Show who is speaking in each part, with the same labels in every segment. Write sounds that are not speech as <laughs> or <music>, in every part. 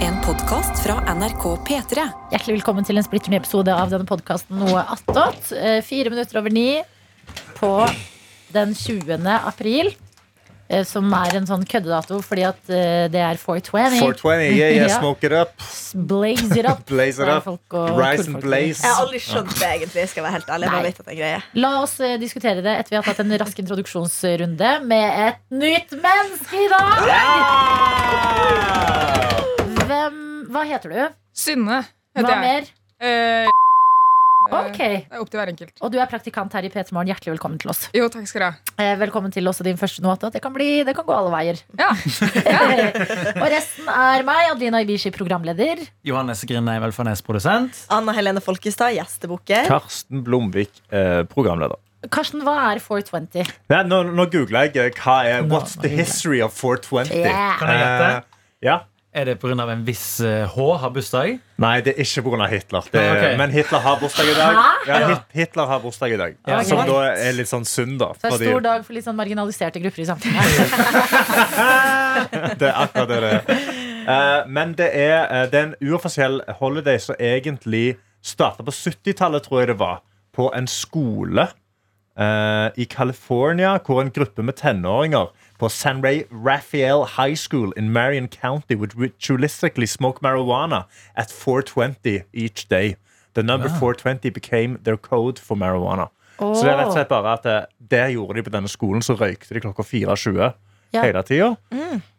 Speaker 1: En podkast fra NRK P3.
Speaker 2: Hjertelig velkommen til en splitter ny episode av denne podkasten Noe attåt. Eh, Fire minutter over ni på den 20. april. eh, Som er en sånn køddedato fordi at eh, det er 420.
Speaker 3: 420, yeah,
Speaker 2: <laughs>
Speaker 3: yeah,
Speaker 2: Ja.
Speaker 3: smoke it up.
Speaker 2: Blaze it
Speaker 3: <laughs>
Speaker 2: up.
Speaker 3: Blaze it
Speaker 2: sa
Speaker 3: up.
Speaker 2: folk og
Speaker 3: Rise and
Speaker 2: kulfolk.
Speaker 3: blaze.
Speaker 4: Jeg har aldri skjønt det, egentlig. Skal jeg være helt ærlig. Jeg
Speaker 2: Nei.
Speaker 4: bare vet at det er greie.
Speaker 2: La oss eh, diskutere det etter vi har tatt en rask introduksjonsrunde med et nytt menneske i dag. Hvem Hva heter du?
Speaker 5: Synne
Speaker 2: Hva
Speaker 5: heter jeg.
Speaker 2: mer?
Speaker 5: Eh,
Speaker 2: Ok.
Speaker 5: Det er opp til hver enkelt.
Speaker 2: Og du er praktikant her i P3 Morgen. Hjertelig velkommen til oss.
Speaker 5: Jo, takk skal du ha.
Speaker 2: Eh, Velkommen til også din første noat. Det kan, bli, det kan gå alle veier. Eh,
Speaker 5: Ja.
Speaker 2: og resten er meg, Adelina Ibishi, programleder.
Speaker 6: Johannes Grindheim Elfarnes, produsent.
Speaker 4: Anna Helene Folkestad, gjestebukker.
Speaker 3: Karsten Blomvik, eh, programleder.
Speaker 2: Karsten, hva er 420?
Speaker 3: Nei, nå, nå googler jeg eh, hva er What's
Speaker 2: nå googler
Speaker 3: the
Speaker 2: jeg.
Speaker 3: history of 420?
Speaker 2: Yeah.
Speaker 6: Kan jeg gjette?
Speaker 3: Eh, ja.
Speaker 6: Er det pga. en viss eh, H har bursdag?
Speaker 3: Nei, det er ikke pga. Hitler. Det,
Speaker 6: Ah, ok.
Speaker 3: Men Hitler har bursdag i dag. Ja,
Speaker 6: Ja.
Speaker 3: Hit- Hitler har bursdag i dag.
Speaker 6: Ja,
Speaker 3: Som
Speaker 2: ok.
Speaker 3: da er litt sånn sunn, da.
Speaker 2: Så det er en
Speaker 3: Fordi
Speaker 2: stor dag for litt sånn marginaliserte grupper i
Speaker 3: <laughs>
Speaker 2: samfunnet.
Speaker 3: det er akkurat det det er. Eh, men det er, eh, det er en uoffisiell holiday som egentlig starta på 70-tallet, tror jeg det var, på en skole eh, i California, hvor en gruppe med tenåringer på San Ray Raphael High School in Marion County would ritualistically smoke marijuana at 420 each day. The number 420 became their code for marijuana. Så det er rett og slett bare at eh, det gjorde de på denne skolen, så røykte de klokka 24
Speaker 2: Ja.
Speaker 3: hele tida.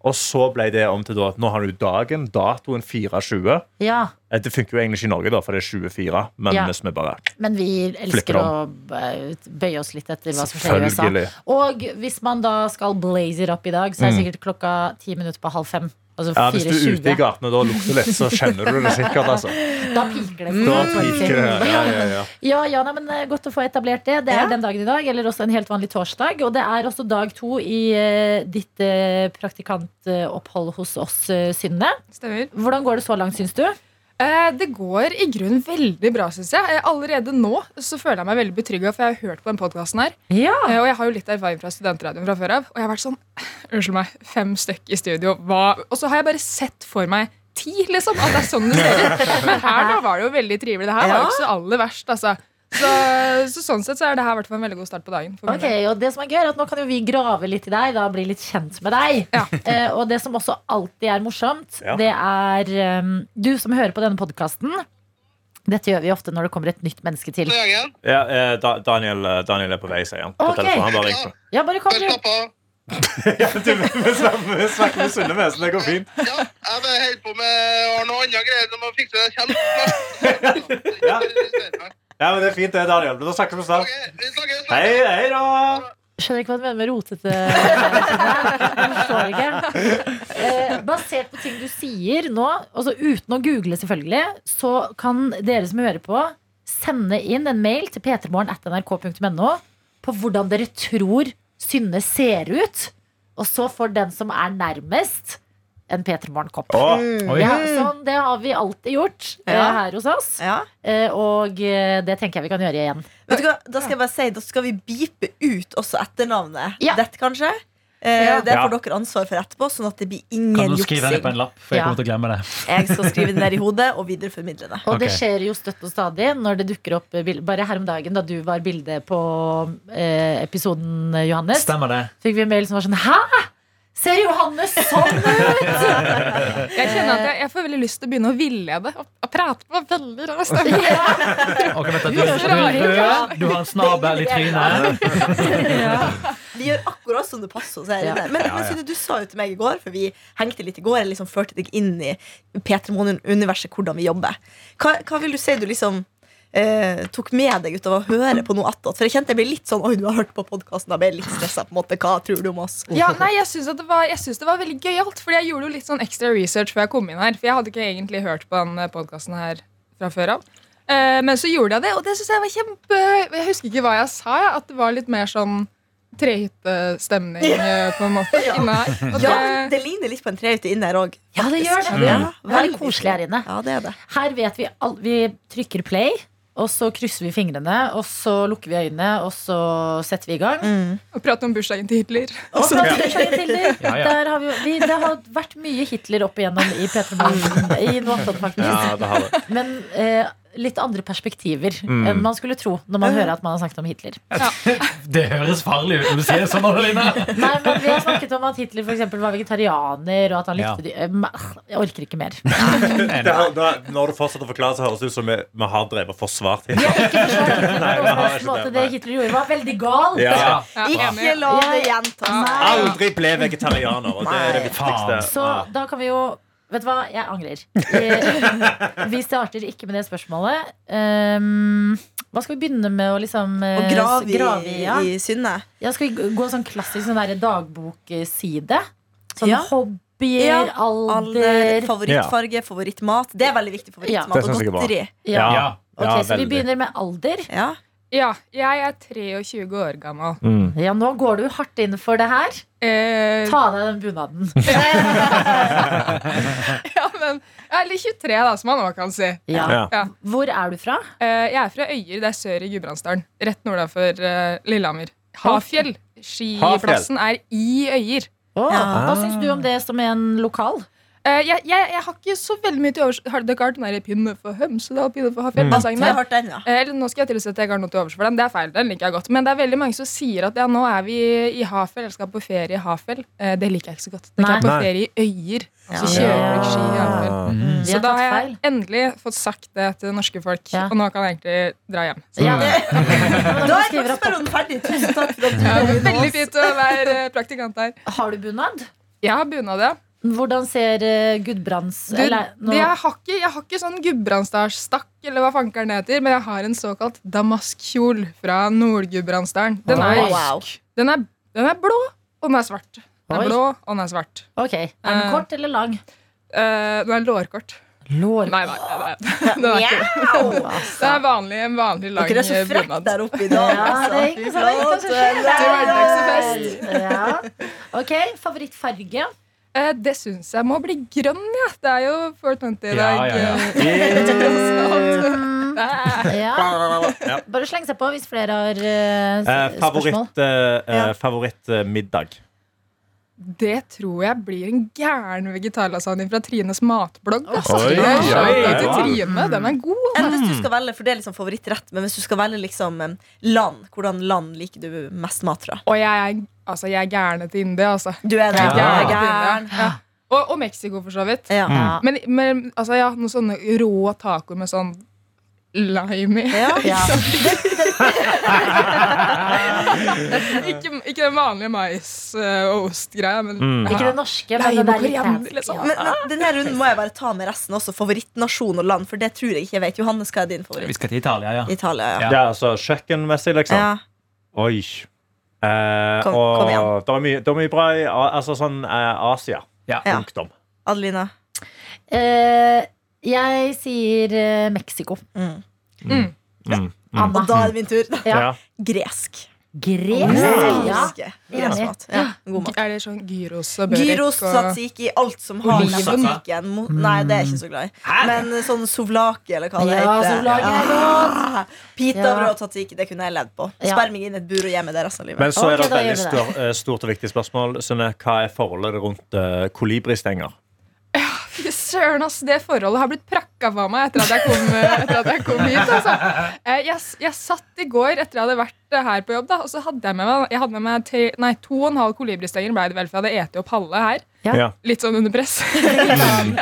Speaker 3: Og så ble det om til da at nå har du dagen, datoen 24.
Speaker 2: ja,
Speaker 3: Eh, Det funker jo egentlig ikke i Norge, da, for det er 24. Men
Speaker 2: Ja.
Speaker 3: hvis vi bare
Speaker 2: men vi elsker
Speaker 3: Flipper
Speaker 2: å eh, bøye oss litt etter hva som skjer i USA.
Speaker 3: Selvfølgelig. Mm.
Speaker 2: Og hvis man da skal blaze it up i dag, så er det sikkert klokka ti minutter på halv fem. Altså
Speaker 3: ja, Hvis du er ute i
Speaker 2: 4.20.
Speaker 3: gatene og da lukter litt, så kjenner du det sikkert.
Speaker 2: <laughs>
Speaker 3: Altså.
Speaker 2: Da piker Mm, det.
Speaker 3: Da piker det. Ja, ja, ja.
Speaker 2: Ja, ja nei, men eh, Godt å få etablert det. Det er
Speaker 4: Ja.
Speaker 2: den dagen i dag, eller også en helt vanlig torsdag. Og det er også dag to i eh, ditt eh, praktikantopphold hos oss, eh, Synne.
Speaker 5: Stemmer.
Speaker 2: Hvordan går det så langt, syns du?
Speaker 5: Eh, det går i grunnen veldig bra, syns jeg. Eh, Allerede nå så føler jeg meg veldig betrygga, for jeg har hørt på den podkasten her.
Speaker 2: Ja.
Speaker 5: Eh, og jeg har jo litt erfaring fra studentradioen fra før av. Og jeg har vært sånn Unnskyld meg, fem stykk i studio, hva Og så har jeg bare sett for meg ti, liksom. At det er sånn det ser ut. Men her nå var det jo veldig trivelig. Det her var jo ikke så aller verst, altså. Så, så sånn sett så er det her i hvert fall en veldig god start på dagen. for min
Speaker 2: Ok, og det som er gøy er at Nå kan jo vi grave litt i deg, da bli litt kjent med deg.
Speaker 5: Ja.
Speaker 2: <laughs> Eh, og det som også alltid er morsomt,
Speaker 3: Ja.
Speaker 2: det er eh, du som hører på denne podkasten. Dette gjør vi ofte når det kommer et nytt menneske til.
Speaker 7: Morgen.
Speaker 3: Ja, eh, da, Daniel, eh, Daniel er på vei, sier han. På
Speaker 2: Ok.
Speaker 3: telefonen. Han bare
Speaker 2: <laughs>
Speaker 3: ringer.
Speaker 2: Ja, bare kom
Speaker 7: Jeg
Speaker 2: du.
Speaker 7: slapp av.
Speaker 3: Ja, du, vi snakker vi snakker med Sunne Vesen, det går fint.
Speaker 7: Ja, jeg bare holder på med å ha noe annet greier når man fikser det
Speaker 3: Ja.
Speaker 7: kjent.
Speaker 3: Ja, men Det er fint, det, Daniel. Da snakkes vi snart.
Speaker 7: Ok, vi snakkes.
Speaker 3: Hei, hei da!
Speaker 2: Skjønner ikke hva du mener med rotete. <laughs> Forstår ikke. Eh, basert på ting du sier nå, altså uten å google selvfølgelig, så kan dere som hører på, sende inn en mail til p3morgen.nrk.no på hvordan dere tror Synne ser ut. Og så får den som er nærmest, en P3morgen-kopp.
Speaker 3: Å,
Speaker 6: Oi.
Speaker 2: Ja, sånn, det har vi alltid gjort eh,
Speaker 4: Ja.
Speaker 2: her hos oss.
Speaker 4: Ja.
Speaker 2: Eh, og eh, det tenker jeg vi kan gjøre igjen.
Speaker 4: Vet du hva, da skal jeg bare si Da skal vi bipe ut også etternavnet
Speaker 2: Ja.
Speaker 4: Dette kanskje Eh,
Speaker 5: Ja.
Speaker 4: Det får
Speaker 3: Ja.
Speaker 4: dere ansvar for etterpå Sånn at det blir
Speaker 6: Kan
Speaker 4: ingen
Speaker 6: du skrive det på
Speaker 4: juksing
Speaker 6: en lapp? For jeg
Speaker 2: Ja.
Speaker 6: kommer til å glemme det.
Speaker 4: Jeg skal skrive det ned i hodet og videreformidle det
Speaker 2: Og
Speaker 6: Ok.
Speaker 2: det skjer jo støtt og stadig når det dukker opp bil- Bare her om dagen, da du var bilde på eh, episoden, eh, Johannes,
Speaker 6: Stemmer det.
Speaker 2: fikk vi en mail som var sånn Hæ?! Ser Johannes sånn ut?!
Speaker 5: Jeg kjenner at jeg, jeg får veldig lyst til å begynne å villede og, og prate på veldig rar stemme.
Speaker 2: ja.
Speaker 6: Ok, vent, da,
Speaker 2: Du er så rar,
Speaker 6: du,
Speaker 2: Julia.
Speaker 6: du, du har en snabel i trynet.
Speaker 4: Vi gjør akkurat som det passer oss her
Speaker 2: Ja.
Speaker 4: inne Men, men Synne, du sa jo til meg i går For vi hengte litt i går Jeg liksom førte deg inn i Petermonen-universet Hvordan vi jobber Hva, hva vil du si du liksom eh, tok med deg ut av å høre på noe attåt For jeg kjente jeg ble litt sånn Oi, du har hørt på podcasten Da ble jeg litt stresset på en måte Hva tror du om oss?
Speaker 5: <laughs> Ja, nei, jeg syns det, var- jeg synes det var veldig gøyalt. Fordi jeg gjorde jo litt sånn ekstra research før jeg kom inn her. For jeg hadde ikke egentlig hørt på den podkasten her fra før av. Eh, men så gjorde jeg det, og det syns jeg var kjempe Jeg husker ikke hva jeg sa, jeg, at det var litt mer sånn trehyttestemning eh, på en <laughs> måte
Speaker 4: Ja.
Speaker 5: inne her. Og
Speaker 4: Ja,
Speaker 5: det-
Speaker 4: det ligner litt på en trehytte inn der òg.
Speaker 2: Ja, det gjør det.
Speaker 4: Ja,
Speaker 2: Det er
Speaker 4: veldig
Speaker 2: koselig her inne.
Speaker 4: Ja, det er det.
Speaker 2: Her vet vi all, Vi trykker play, Og så krysser vi fingrene, og så lukker vi øynene, og så setter vi i gang.
Speaker 6: Mm.
Speaker 5: Og prate om bursdagen til Hitler.
Speaker 2: Og så bursdagen til Hitler.
Speaker 6: <laughs> Ja, ja.
Speaker 2: Der har vi, jo- vi, det har vært mye Hitler opp igjennom i P3 Morgen.
Speaker 6: Mm.
Speaker 2: I Noatton, faktisk.
Speaker 3: Ja, det har det.
Speaker 2: Men eh, litt andre perspektiver enn man skulle tro når man hører at man har snakket om Hitler.
Speaker 6: Det høres farlig ut når du sier det sånn, Adelina.
Speaker 2: Nei, men Vi har snakket om at Hitler for eksempel, var vegetarianer, og at han
Speaker 6: Ja.
Speaker 2: likte dyr. Eh, men, Jeg orker
Speaker 3: <laughs>
Speaker 2: ikke mer.
Speaker 3: <laughs> Det har, da, når du fortsetter å forklare, så høres det ut som vi, vi har drevet og <laughs> forsvart Hitler. Nei, vi
Speaker 2: På
Speaker 3: har
Speaker 2: en
Speaker 3: ikke
Speaker 2: måte
Speaker 3: det,
Speaker 2: det
Speaker 3: nei.
Speaker 2: Hitler gjorde, var veldig galt.
Speaker 3: Ja.
Speaker 5: Ja, enig.
Speaker 4: Ikke la det gjenta seg.
Speaker 3: Aldri ble vegetarianer. Og det er det viktigste.
Speaker 6: Faen.
Speaker 2: Så
Speaker 3: Ja.
Speaker 2: da kan vi jo Vet du hva, jeg angrer.
Speaker 3: <laughs>
Speaker 2: Eh, Vi starter ikke med det spørsmålet. Um, hva skal vi begynne med å liksom eh,
Speaker 4: Og grave i,
Speaker 2: grave i, ja?
Speaker 4: i syndet.
Speaker 2: ja, Skal vi gå sånn klassisk sånn der dagbokside? Sånn
Speaker 4: Ja.
Speaker 2: hobbyer,
Speaker 4: Ja, Alder,
Speaker 2: alder
Speaker 4: favorittfarge, favorittmat. Det er veldig viktig.
Speaker 2: Ja.
Speaker 4: Favorittmat
Speaker 3: Det
Speaker 4: og
Speaker 3: synes jeg er bra.
Speaker 4: godteri.
Speaker 2: ja.
Speaker 6: Ja.
Speaker 2: Ok,
Speaker 3: Ja,
Speaker 2: Så vi
Speaker 3: veldig.
Speaker 2: begynner med alder.
Speaker 4: Ja.
Speaker 5: ja, jeg er 23 år gammel.
Speaker 3: Mm.
Speaker 2: Ja, Nå går du hardt inn for det her.
Speaker 5: Eh,
Speaker 2: Ta av deg den bunaden.
Speaker 5: ja, men, ja, eller 23, da, som man òg kan si.
Speaker 2: Ja.
Speaker 3: Ja.
Speaker 5: Ja.
Speaker 2: Hvor er du fra?
Speaker 5: Eh, jeg er fra Øyer, det er sør i Gudbrandsdalen. Rett nordafor uh, Lillehammer. Hafjell. Skiplassen er i Øyer.
Speaker 2: Å,
Speaker 5: Ah.
Speaker 4: Ja.
Speaker 2: Hva syns du om det som en lokal?
Speaker 5: Eh, jeg, jeg, jeg har ikke så veldig mye til overs Har dere hørt den der 'Pinne for Hømsedal, pinne for Hafjell'? den sangen
Speaker 4: Jeg har
Speaker 5: der?
Speaker 4: hørt den, ja.
Speaker 5: Eh, eller nå skal jeg til å si at jeg ikke har noe til overs for den. Det er feil. den liker jeg godt Men det er veldig mange som sier at ja, nå er vi i Hafjell, eller skal på ferie i Hafjell. Eh, det liker jeg ikke så godt. Det
Speaker 2: Nei.
Speaker 5: er på
Speaker 3: Nei.
Speaker 5: ferie i Øyer. Så
Speaker 2: Ja.
Speaker 5: kjører folk ski i Hafjell.
Speaker 2: Vi
Speaker 5: Mm. Så
Speaker 2: har
Speaker 5: da
Speaker 2: tatt
Speaker 5: har
Speaker 2: feil.
Speaker 5: jeg <laughs> endelig fått sagt det til det norske folk,
Speaker 2: Ja.
Speaker 5: og nå kan jeg egentlig dra hjem.
Speaker 2: Ja.
Speaker 4: Da er
Speaker 2: skriver opp.
Speaker 4: spørsmålen ferdig. Tusen takk for at du kom
Speaker 5: Ja, det er
Speaker 4: innom
Speaker 5: veldig
Speaker 4: oss.
Speaker 5: fint å være eh, praktikant her.
Speaker 2: Har du bunad?
Speaker 5: Jeg har bunad, ja.
Speaker 2: Hvordan ser eh, Gudbrands
Speaker 5: Du,
Speaker 2: eller, nå,
Speaker 5: det- jeg, har ikke, jeg har ikke sånn Gudbrandsdalsstakk, eller hva fankeren det heter, men jeg har en såkalt damaskkjol fra Nord-Gudbrandsdalen. Den,
Speaker 2: Oi.
Speaker 5: er-
Speaker 4: Wow.
Speaker 5: den, er- den er blå, og den er svart. Den
Speaker 2: Oi.
Speaker 5: er blå, og den er svart.
Speaker 2: Ok, Er den
Speaker 5: Eh,
Speaker 2: kort eller lang?
Speaker 5: Eh, den er lårkort.
Speaker 2: Lår.
Speaker 5: Nei, nei, nei, <laughs> nei. Den er ikke det.
Speaker 2: altså.
Speaker 5: Det er vanlig, en vanlig lang
Speaker 4: Dere er så
Speaker 5: eh,
Speaker 4: frekke
Speaker 5: bunad.
Speaker 4: der oppe i dag. altså.
Speaker 2: Ja, det er ikke
Speaker 4: Fy
Speaker 2: så lett å
Speaker 4: flate.
Speaker 2: skjønne.
Speaker 5: Til hverdagsfest.
Speaker 2: Ja. Ok, favorittfarge?
Speaker 5: Eh, det syns jeg må bli grønn, ja. Det er jo 420 i dag.
Speaker 6: Ja, ja, ja.
Speaker 5: eh, <laughs>
Speaker 2: Mm,
Speaker 5: eh,
Speaker 2: ja.
Speaker 3: Ja.
Speaker 2: Bare sleng seg på hvis flere har eh, s-
Speaker 3: Eh,
Speaker 2: spørsmål.
Speaker 3: favoritt, eh, eh,
Speaker 4: Ja.
Speaker 3: favorittmiddag.
Speaker 5: Det tror jeg blir en gæren vegetarlasagne fra Trines matblogg. ass.
Speaker 3: Oi,
Speaker 5: Det er
Speaker 3: oi,
Speaker 5: shoutout til
Speaker 3: oi.
Speaker 5: Trine, den er god.
Speaker 4: Enn hvis du skal velge, for det er liksom favorittrett, men hvis du skal velge liksom em, land, hvordan land liker du mest mat fra?
Speaker 5: Og jeg er, altså, jeg er gæren etter India, altså.
Speaker 4: Du er det.
Speaker 6: Ja.
Speaker 4: Jeg er
Speaker 5: Gæren.
Speaker 4: gæren.
Speaker 5: Ja. Og, og Mexico, for så vidt.
Speaker 4: Ja.
Speaker 2: Ja.
Speaker 5: Men, men altså, ja, noen sånne rå tacoer med sånn lime i.
Speaker 4: Ja.
Speaker 2: Ja.
Speaker 5: <laughs> ikke, ikke den vanlige mais- eh, og ostgreia, men
Speaker 2: Ikke
Speaker 5: ja.
Speaker 2: det norske, men
Speaker 5: Lime
Speaker 2: det
Speaker 5: og
Speaker 2: der
Speaker 5: koriander,
Speaker 2: litt
Speaker 5: liksom.
Speaker 2: fancy.
Speaker 4: Men, men denne runden må jeg bare ta med resten også. Favorittnasjon og land, for det tror jeg ikke jeg vet. Johannes, hva er din
Speaker 6: Vi
Speaker 4: favoritt?
Speaker 6: skal til Italia, ja.
Speaker 4: Italia, ja.
Speaker 3: Det er altså kjøkkenmessig, liksom.
Speaker 4: ja.
Speaker 3: Oi. Eh,
Speaker 4: Kom-
Speaker 3: og
Speaker 4: kom igjen.
Speaker 3: Det er, mye, det er mye bra i A- altså, sånn, eh, Asia.
Speaker 6: Ja.
Speaker 4: Ja.
Speaker 3: Punktum.
Speaker 4: Adelina.
Speaker 2: Ja. Eh, jeg sier eh, Mexico.
Speaker 4: Mm.
Speaker 5: Mm.
Speaker 6: Mm.
Speaker 4: Og
Speaker 2: Anna.
Speaker 4: da er det min tur.
Speaker 2: Ja.
Speaker 3: Ja.
Speaker 4: Gresk.
Speaker 2: Gresk. Ja.
Speaker 4: Gresk. Gresk mat. Ja. God mat.
Speaker 5: Er det sånn gyros og børek?
Speaker 4: Gyros,
Speaker 5: og,
Speaker 4: tzatziki, alt som har
Speaker 6: Oliven.
Speaker 4: oliven. Mo- Nei, det er jeg ikke så glad i. Men sånn souvlaki, eller hva det
Speaker 2: Ja,
Speaker 4: heter.
Speaker 2: souvlaki er
Speaker 4: Ja. Pitabrød
Speaker 2: Ja.
Speaker 4: og tzatziki, det kunne jeg levd på.
Speaker 2: Ja.
Speaker 4: Sperr meg inn i et bur og gi meg det resten av livet.
Speaker 3: Men så
Speaker 2: Ok,
Speaker 3: er det et
Speaker 2: da gjør
Speaker 3: veldig
Speaker 2: vi det.
Speaker 3: stort, stort og viktig spørsmål. Synne, hva er forholdet rundt eh, kolibristenger?
Speaker 5: Fy Søren, ass, det forholdet har blitt prakka for meg etter at jeg kom, eh, etter at jeg kom hit. Altså. Eh, Jeg, s- jeg satt i går etter jeg hadde vært eh, her på jobb, da, og så hadde jeg med meg, jeg hadde med meg tre, nei, to og en halv kolibristenger, ble det vel, for jeg hadde eti opp halve her.
Speaker 2: Ja.
Speaker 3: Ja.
Speaker 5: Litt sånn under press.
Speaker 2: Vi la,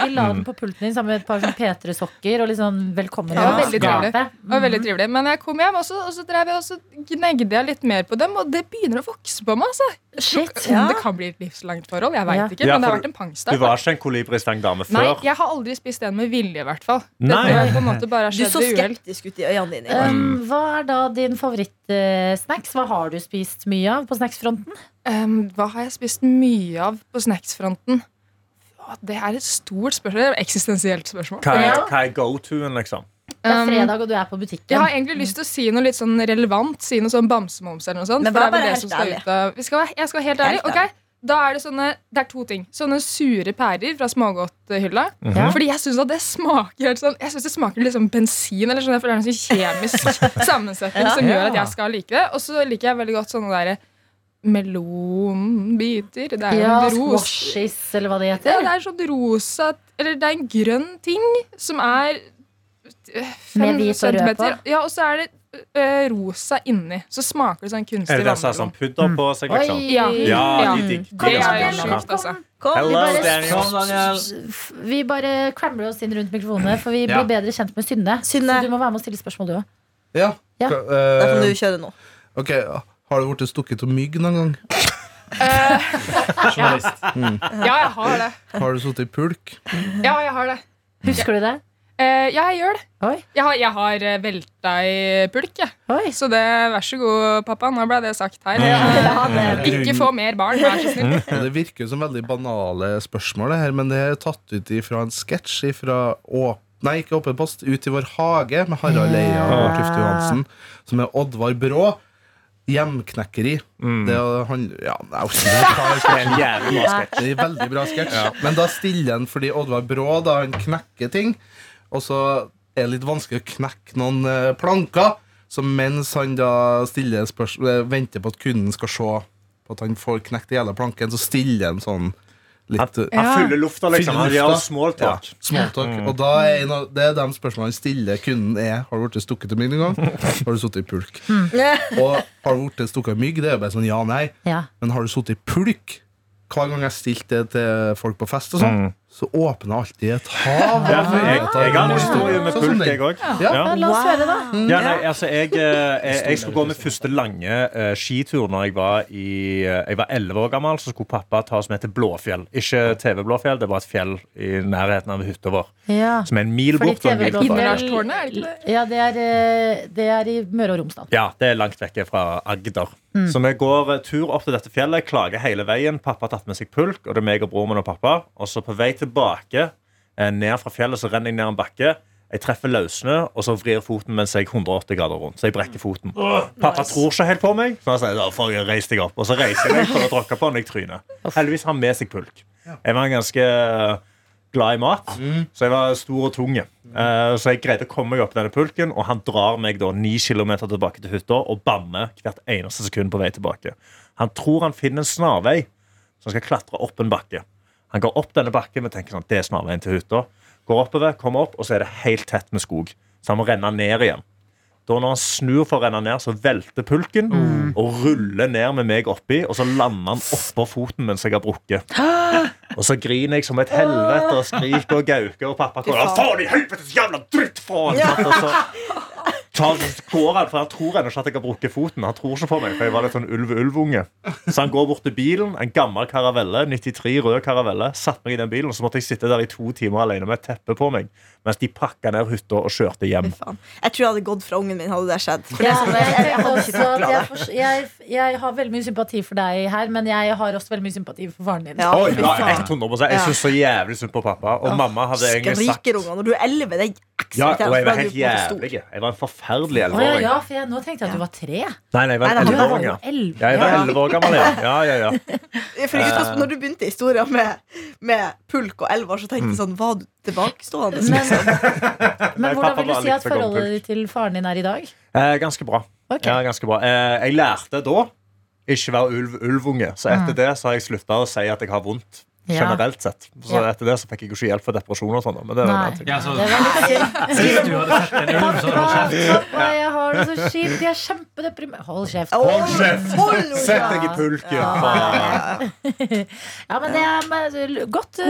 Speaker 2: vi la den
Speaker 5: Mm.
Speaker 2: på pulten din sammen med et par sånn P3-sokker og litt sånn velkommen.
Speaker 5: Ja,
Speaker 2: i
Speaker 5: veldig Mm.
Speaker 2: skapet.
Speaker 5: trivelig. Det var veldig trivelig. Men jeg kom hjem, og så, og så drev jeg og så gnegde jeg litt mer på dem, og det begynner å vokse på meg. altså.
Speaker 2: Shit.
Speaker 5: Om det kan bli et livslangt forhold, jeg veit
Speaker 2: Ja.
Speaker 5: ikke,
Speaker 3: Ja,
Speaker 5: men det har
Speaker 3: for
Speaker 5: vært en
Speaker 3: Du
Speaker 5: pangstart. da.
Speaker 3: var ikke en kolibristengdame
Speaker 5: Nei,
Speaker 3: før.
Speaker 5: jeg har aldri spist den med vilje, i hvert fall. Det
Speaker 3: Nei.
Speaker 5: tror jeg på en måte bare har
Speaker 4: Du
Speaker 5: skjedd
Speaker 4: så
Speaker 5: ved uhell.
Speaker 4: skeptisk ut i øynene dine. i går.
Speaker 2: Um, hva er da din favorittsnacks? Hva har du spist mye av på snacksfronten?
Speaker 5: Ehm, hva har jeg spist mye av på snacksfronten? Å, Det er et stort spørsmål. Det er et Eksistensielt spørsmål.
Speaker 3: Hva er,
Speaker 2: Ja.
Speaker 3: hva er go-to-en, liksom?
Speaker 2: Det er
Speaker 5: Um,
Speaker 2: fredag, og du er på butikken.
Speaker 5: Jeg har egentlig lyst til å si noe litt sånn relevant. Si noe sånn bamsemums eller noe sånt.
Speaker 4: Men
Speaker 5: for
Speaker 4: vær bare
Speaker 5: det er vel det
Speaker 4: helt
Speaker 5: som skal
Speaker 4: ærlig.
Speaker 5: ut av vi skal, være- Jeg skal være helt ærlig.
Speaker 4: Helt
Speaker 5: ok? da er det sånne Det er to ting. Sånne sure pærer fra smågodthylla.
Speaker 2: Ja.
Speaker 4: Mhm.
Speaker 5: Fordi jeg syns det smaker helt sånn Jeg synes det smaker litt sånn bensin. Eller sånn, for det er en sånn
Speaker 4: <laughs>
Speaker 5: kjemisk sammensetning som gjør at jeg skal like det. Og så liker jeg veldig godt sånne derre melonbiter. Det er jo
Speaker 2: Ja,
Speaker 5: en ros.
Speaker 2: squashes, eller hva det
Speaker 5: Ja,
Speaker 2: heter.
Speaker 5: det er sånn rosa Eller det er en grønn ting som er øh, fem
Speaker 2: Med hvit og rød
Speaker 5: centimeter. Ja, og så er det øh, rosa inni. Så smaker det sånn kunstig
Speaker 3: Er det der som har sånn
Speaker 5: vannmelon.
Speaker 3: pudder på seg, liksom?
Speaker 5: Ja.
Speaker 3: Ja,
Speaker 5: Ja.
Speaker 3: de liksom. digg.
Speaker 2: Kom,
Speaker 5: Det er
Speaker 2: Daniel,
Speaker 5: jo
Speaker 2: kom,
Speaker 5: sjukt, altså.
Speaker 4: Kom,
Speaker 3: Hello,
Speaker 4: vi bare
Speaker 3: Daniel.
Speaker 6: Kom, Daniel.
Speaker 2: F- Vi bare klamrer oss inn rundt mikrofonene, for vi blir
Speaker 6: Ja.
Speaker 2: bedre kjent med Synne.
Speaker 4: Synne.
Speaker 2: Så du må være med og stille spørsmål, du òg.
Speaker 8: Ja.
Speaker 2: Ja.
Speaker 8: Ka-
Speaker 4: Da kan
Speaker 8: eh,
Speaker 4: du kjøre nå.
Speaker 2: <laughs>
Speaker 8: ok, Har du blitt stukket av mygg noen gang?
Speaker 6: Journalist.
Speaker 5: Ja, jeg har det.
Speaker 8: Har du sittet i pulk?
Speaker 5: Ja, jeg har det.
Speaker 2: Husker du det?
Speaker 5: Eh, ja, jeg gjør det.
Speaker 2: Oi.
Speaker 5: Jeg har, jeg har eh, velta i pulk, jeg.
Speaker 2: Oi.
Speaker 5: Så det, vær så god, pappa. Nå ble det sagt her.
Speaker 2: Ja, det,
Speaker 5: Ikke få mer barn, vær så snill.
Speaker 8: Og Det virker jo som veldig banale spørsmål, det her, men det er tatt ut fra en sketsj fra Åp... Nei, ikke Åpen post. Ut i vår hage med Harald Eia og Tufte Johansen, som er Oddvar Brå. Hjemknekkeri.
Speaker 3: Mm.
Speaker 8: Det er han Ja, jeg orker ikke å ta det.
Speaker 3: En jævlig bra sketsj.
Speaker 8: Det er en veldig bra sketsj. Men da stiller han fordi Oddvar Brå da han knekker ting. Og så er det litt vanskelig å knekke noen eh, planker. Så mens han da stiller spørs- eh, venter på at kunden skal se på at han får knekt hele planken, så stiller han sånn litt eh,
Speaker 3: Han fyller lufta, liksom. Han
Speaker 8: Fyller
Speaker 3: gjør
Speaker 8: lufta.
Speaker 3: small
Speaker 8: ja,
Speaker 3: talk.
Speaker 8: småtalk. Og da er en av, det er de spørsmålene han stiller kunden er Har du blitt stukket av mygg noen gang? Har du sittet i pulk? Og har du blitt stukket av mygg? Det er jo bare sånn ja-nei.
Speaker 2: ja.
Speaker 8: Men har du sittet i pulk? Hver gang jeg stilte det til folk på fest, og sånn, så åpna alltid et hav.
Speaker 3: Mm. Ja, for jeg, jeg har en historie med
Speaker 8: Sånn som
Speaker 3: pulk,
Speaker 8: den.
Speaker 3: jeg òg.
Speaker 8: Ja.
Speaker 2: ja, la oss høre, da.
Speaker 3: Ja, nei, altså, jeg, eh, jeg, jeg skulle gå min første lange eh, skitur Når jeg var i eh, Jeg var 11 år gammel, så skulle pappa ta oss med til Blåfjell. Ikke TV Blåfjell, det var et fjell i nærheten av hytta vår.
Speaker 2: Ja.
Speaker 3: Som er en mil
Speaker 2: Fordi
Speaker 3: bort. og en
Speaker 2: TV
Speaker 3: mil tilbake.
Speaker 5: Innerlandstårnet, er det ikke det?
Speaker 2: Ja, det er, eh, det er i Møre og Romsdal.
Speaker 3: Ja, det er langt vekk fra Agder. Så vi går eh, tur opp til dette fjellet, klager hele veien. Pappa har tatt med seg pulk, og det er meg og broren min og pappa. Og så på vei tilbake eh, ned fra fjellet, så renner jeg ned en bakke. Jeg treffer løssnø, og så vrir foten mens jeg 180 grader rundt. Så jeg brekker foten. Pappa tror ikke helt på meg, så han sier da får jeg reise deg opp. Og så reiser jeg meg for å tråkke på den jeg tryner. Heldigvis har han med seg pulk. Jeg var ganske eh, glad i mat, så jeg var stor og tung. Eh, så jeg greide å komme meg opp denne pulken, og han drar meg da ni kilometer tilbake til hytta og banner hvert eneste sekund på vei tilbake. Han tror han finner en snarvei, så han skal klatre opp en bakke. Han går opp denne bakken og tenker sånn, det er snarveien til hytta. Går oppover, kommer opp, og så er det helt tett med skog. Så han må renne ned igjen. Da når han snur for å renne ned, så velter pulken og ruller ned med meg oppi, og så lander han oppå foten mens jeg har brukket. Og så griner jeg som et helvete og skriker og gauker, og pappa kommer og faen i helvetes jævla dritt faen! Og så tar, går han, for han tror ennå ikke at jeg har brukket foten. Han tror ikke på meg, for jeg var litt sånn ulv-ulv-unge. Så han går bort til bilen, en gammel karavelle, 93 rød karavelle, satt meg i den bilen, og så måtte jeg sitte der i to timer alene med et teppe på meg, mens de pakka ned hytta og kjørte hjem.
Speaker 4: Fy faen. Jeg tror jeg hadde gått fra ungen min hadde det skjedd.
Speaker 2: Ja, men jeg,
Speaker 3: <laughs>
Speaker 2: tenker også at jeg, fors- jeg, jeg har veldig mye sympati for deg her, men jeg har også veldig mye sympati for faren din.
Speaker 4: Ja,
Speaker 3: Oi,
Speaker 4: fy
Speaker 3: ja,
Speaker 4: faen.
Speaker 3: 100 Jeg syns så jævlig synd på pappa. Og mamma hadde egentlig sagt
Speaker 4: Skriker unger når du er 11. Det er ekstra
Speaker 3: ja, og jeg
Speaker 4: irriterende,
Speaker 3: var
Speaker 4: for da er
Speaker 3: helt
Speaker 4: du på
Speaker 2: Å,
Speaker 3: jævlig. Jeg var en forferdelig
Speaker 4: en måte stor.
Speaker 2: ja,
Speaker 3: elleveåring.
Speaker 2: ja, for jeg, nå tenkte jeg at du var tre.
Speaker 3: Nei, nei, jeg var
Speaker 4: Nei,
Speaker 3: en
Speaker 4: nei,
Speaker 2: Du
Speaker 4: han
Speaker 2: var jo
Speaker 3: elleveåring, ja.
Speaker 2: elleve.
Speaker 3: Ja, jeg var 11 år gammel, ja. ja, ja, ja.
Speaker 4: For i
Speaker 2: Eh.
Speaker 4: utgangspunktet, altså, Når du begynte historien med, med pulk og elver, så tenkte jeg sånn Var du tilbakestående?
Speaker 2: Mm. Men,
Speaker 3: Nei,
Speaker 2: <laughs> men hvordan
Speaker 3: pappa
Speaker 2: vil du
Speaker 3: var
Speaker 2: si
Speaker 3: litt
Speaker 2: at
Speaker 3: for gammel.
Speaker 2: forholdet ditt til faren din er i dag?
Speaker 3: Eh, ganske bra.
Speaker 2: Ok.
Speaker 3: Ja, ganske bra. Eh, jeg lærte da ikke være ulv, ulvunge. Så etter det så har jeg slutta å si at jeg har vondt.
Speaker 2: Ja.
Speaker 3: Generelt sett. Så
Speaker 2: Ja.
Speaker 3: etter det så fikk jeg jo ikke hjelp for depresjon og sånn. da, Men det er jo en
Speaker 2: Nei.
Speaker 3: annen ting.
Speaker 6: Ja, så,
Speaker 2: Det var litt synd.
Speaker 6: hvis du hadde sett en ulv,
Speaker 3: <laughs>
Speaker 6: så hadde du
Speaker 2: Pappa,
Speaker 6: kjeft.
Speaker 2: pappa, jeg har det så kjipt. Jeg er kjempedeprimert. Hold kjeft.
Speaker 4: Hold
Speaker 3: Hold kjeft!
Speaker 4: Hold nå
Speaker 3: Sett
Speaker 4: kjeft!
Speaker 3: deg i pulken.
Speaker 2: Ja, men det er men, godt, eh,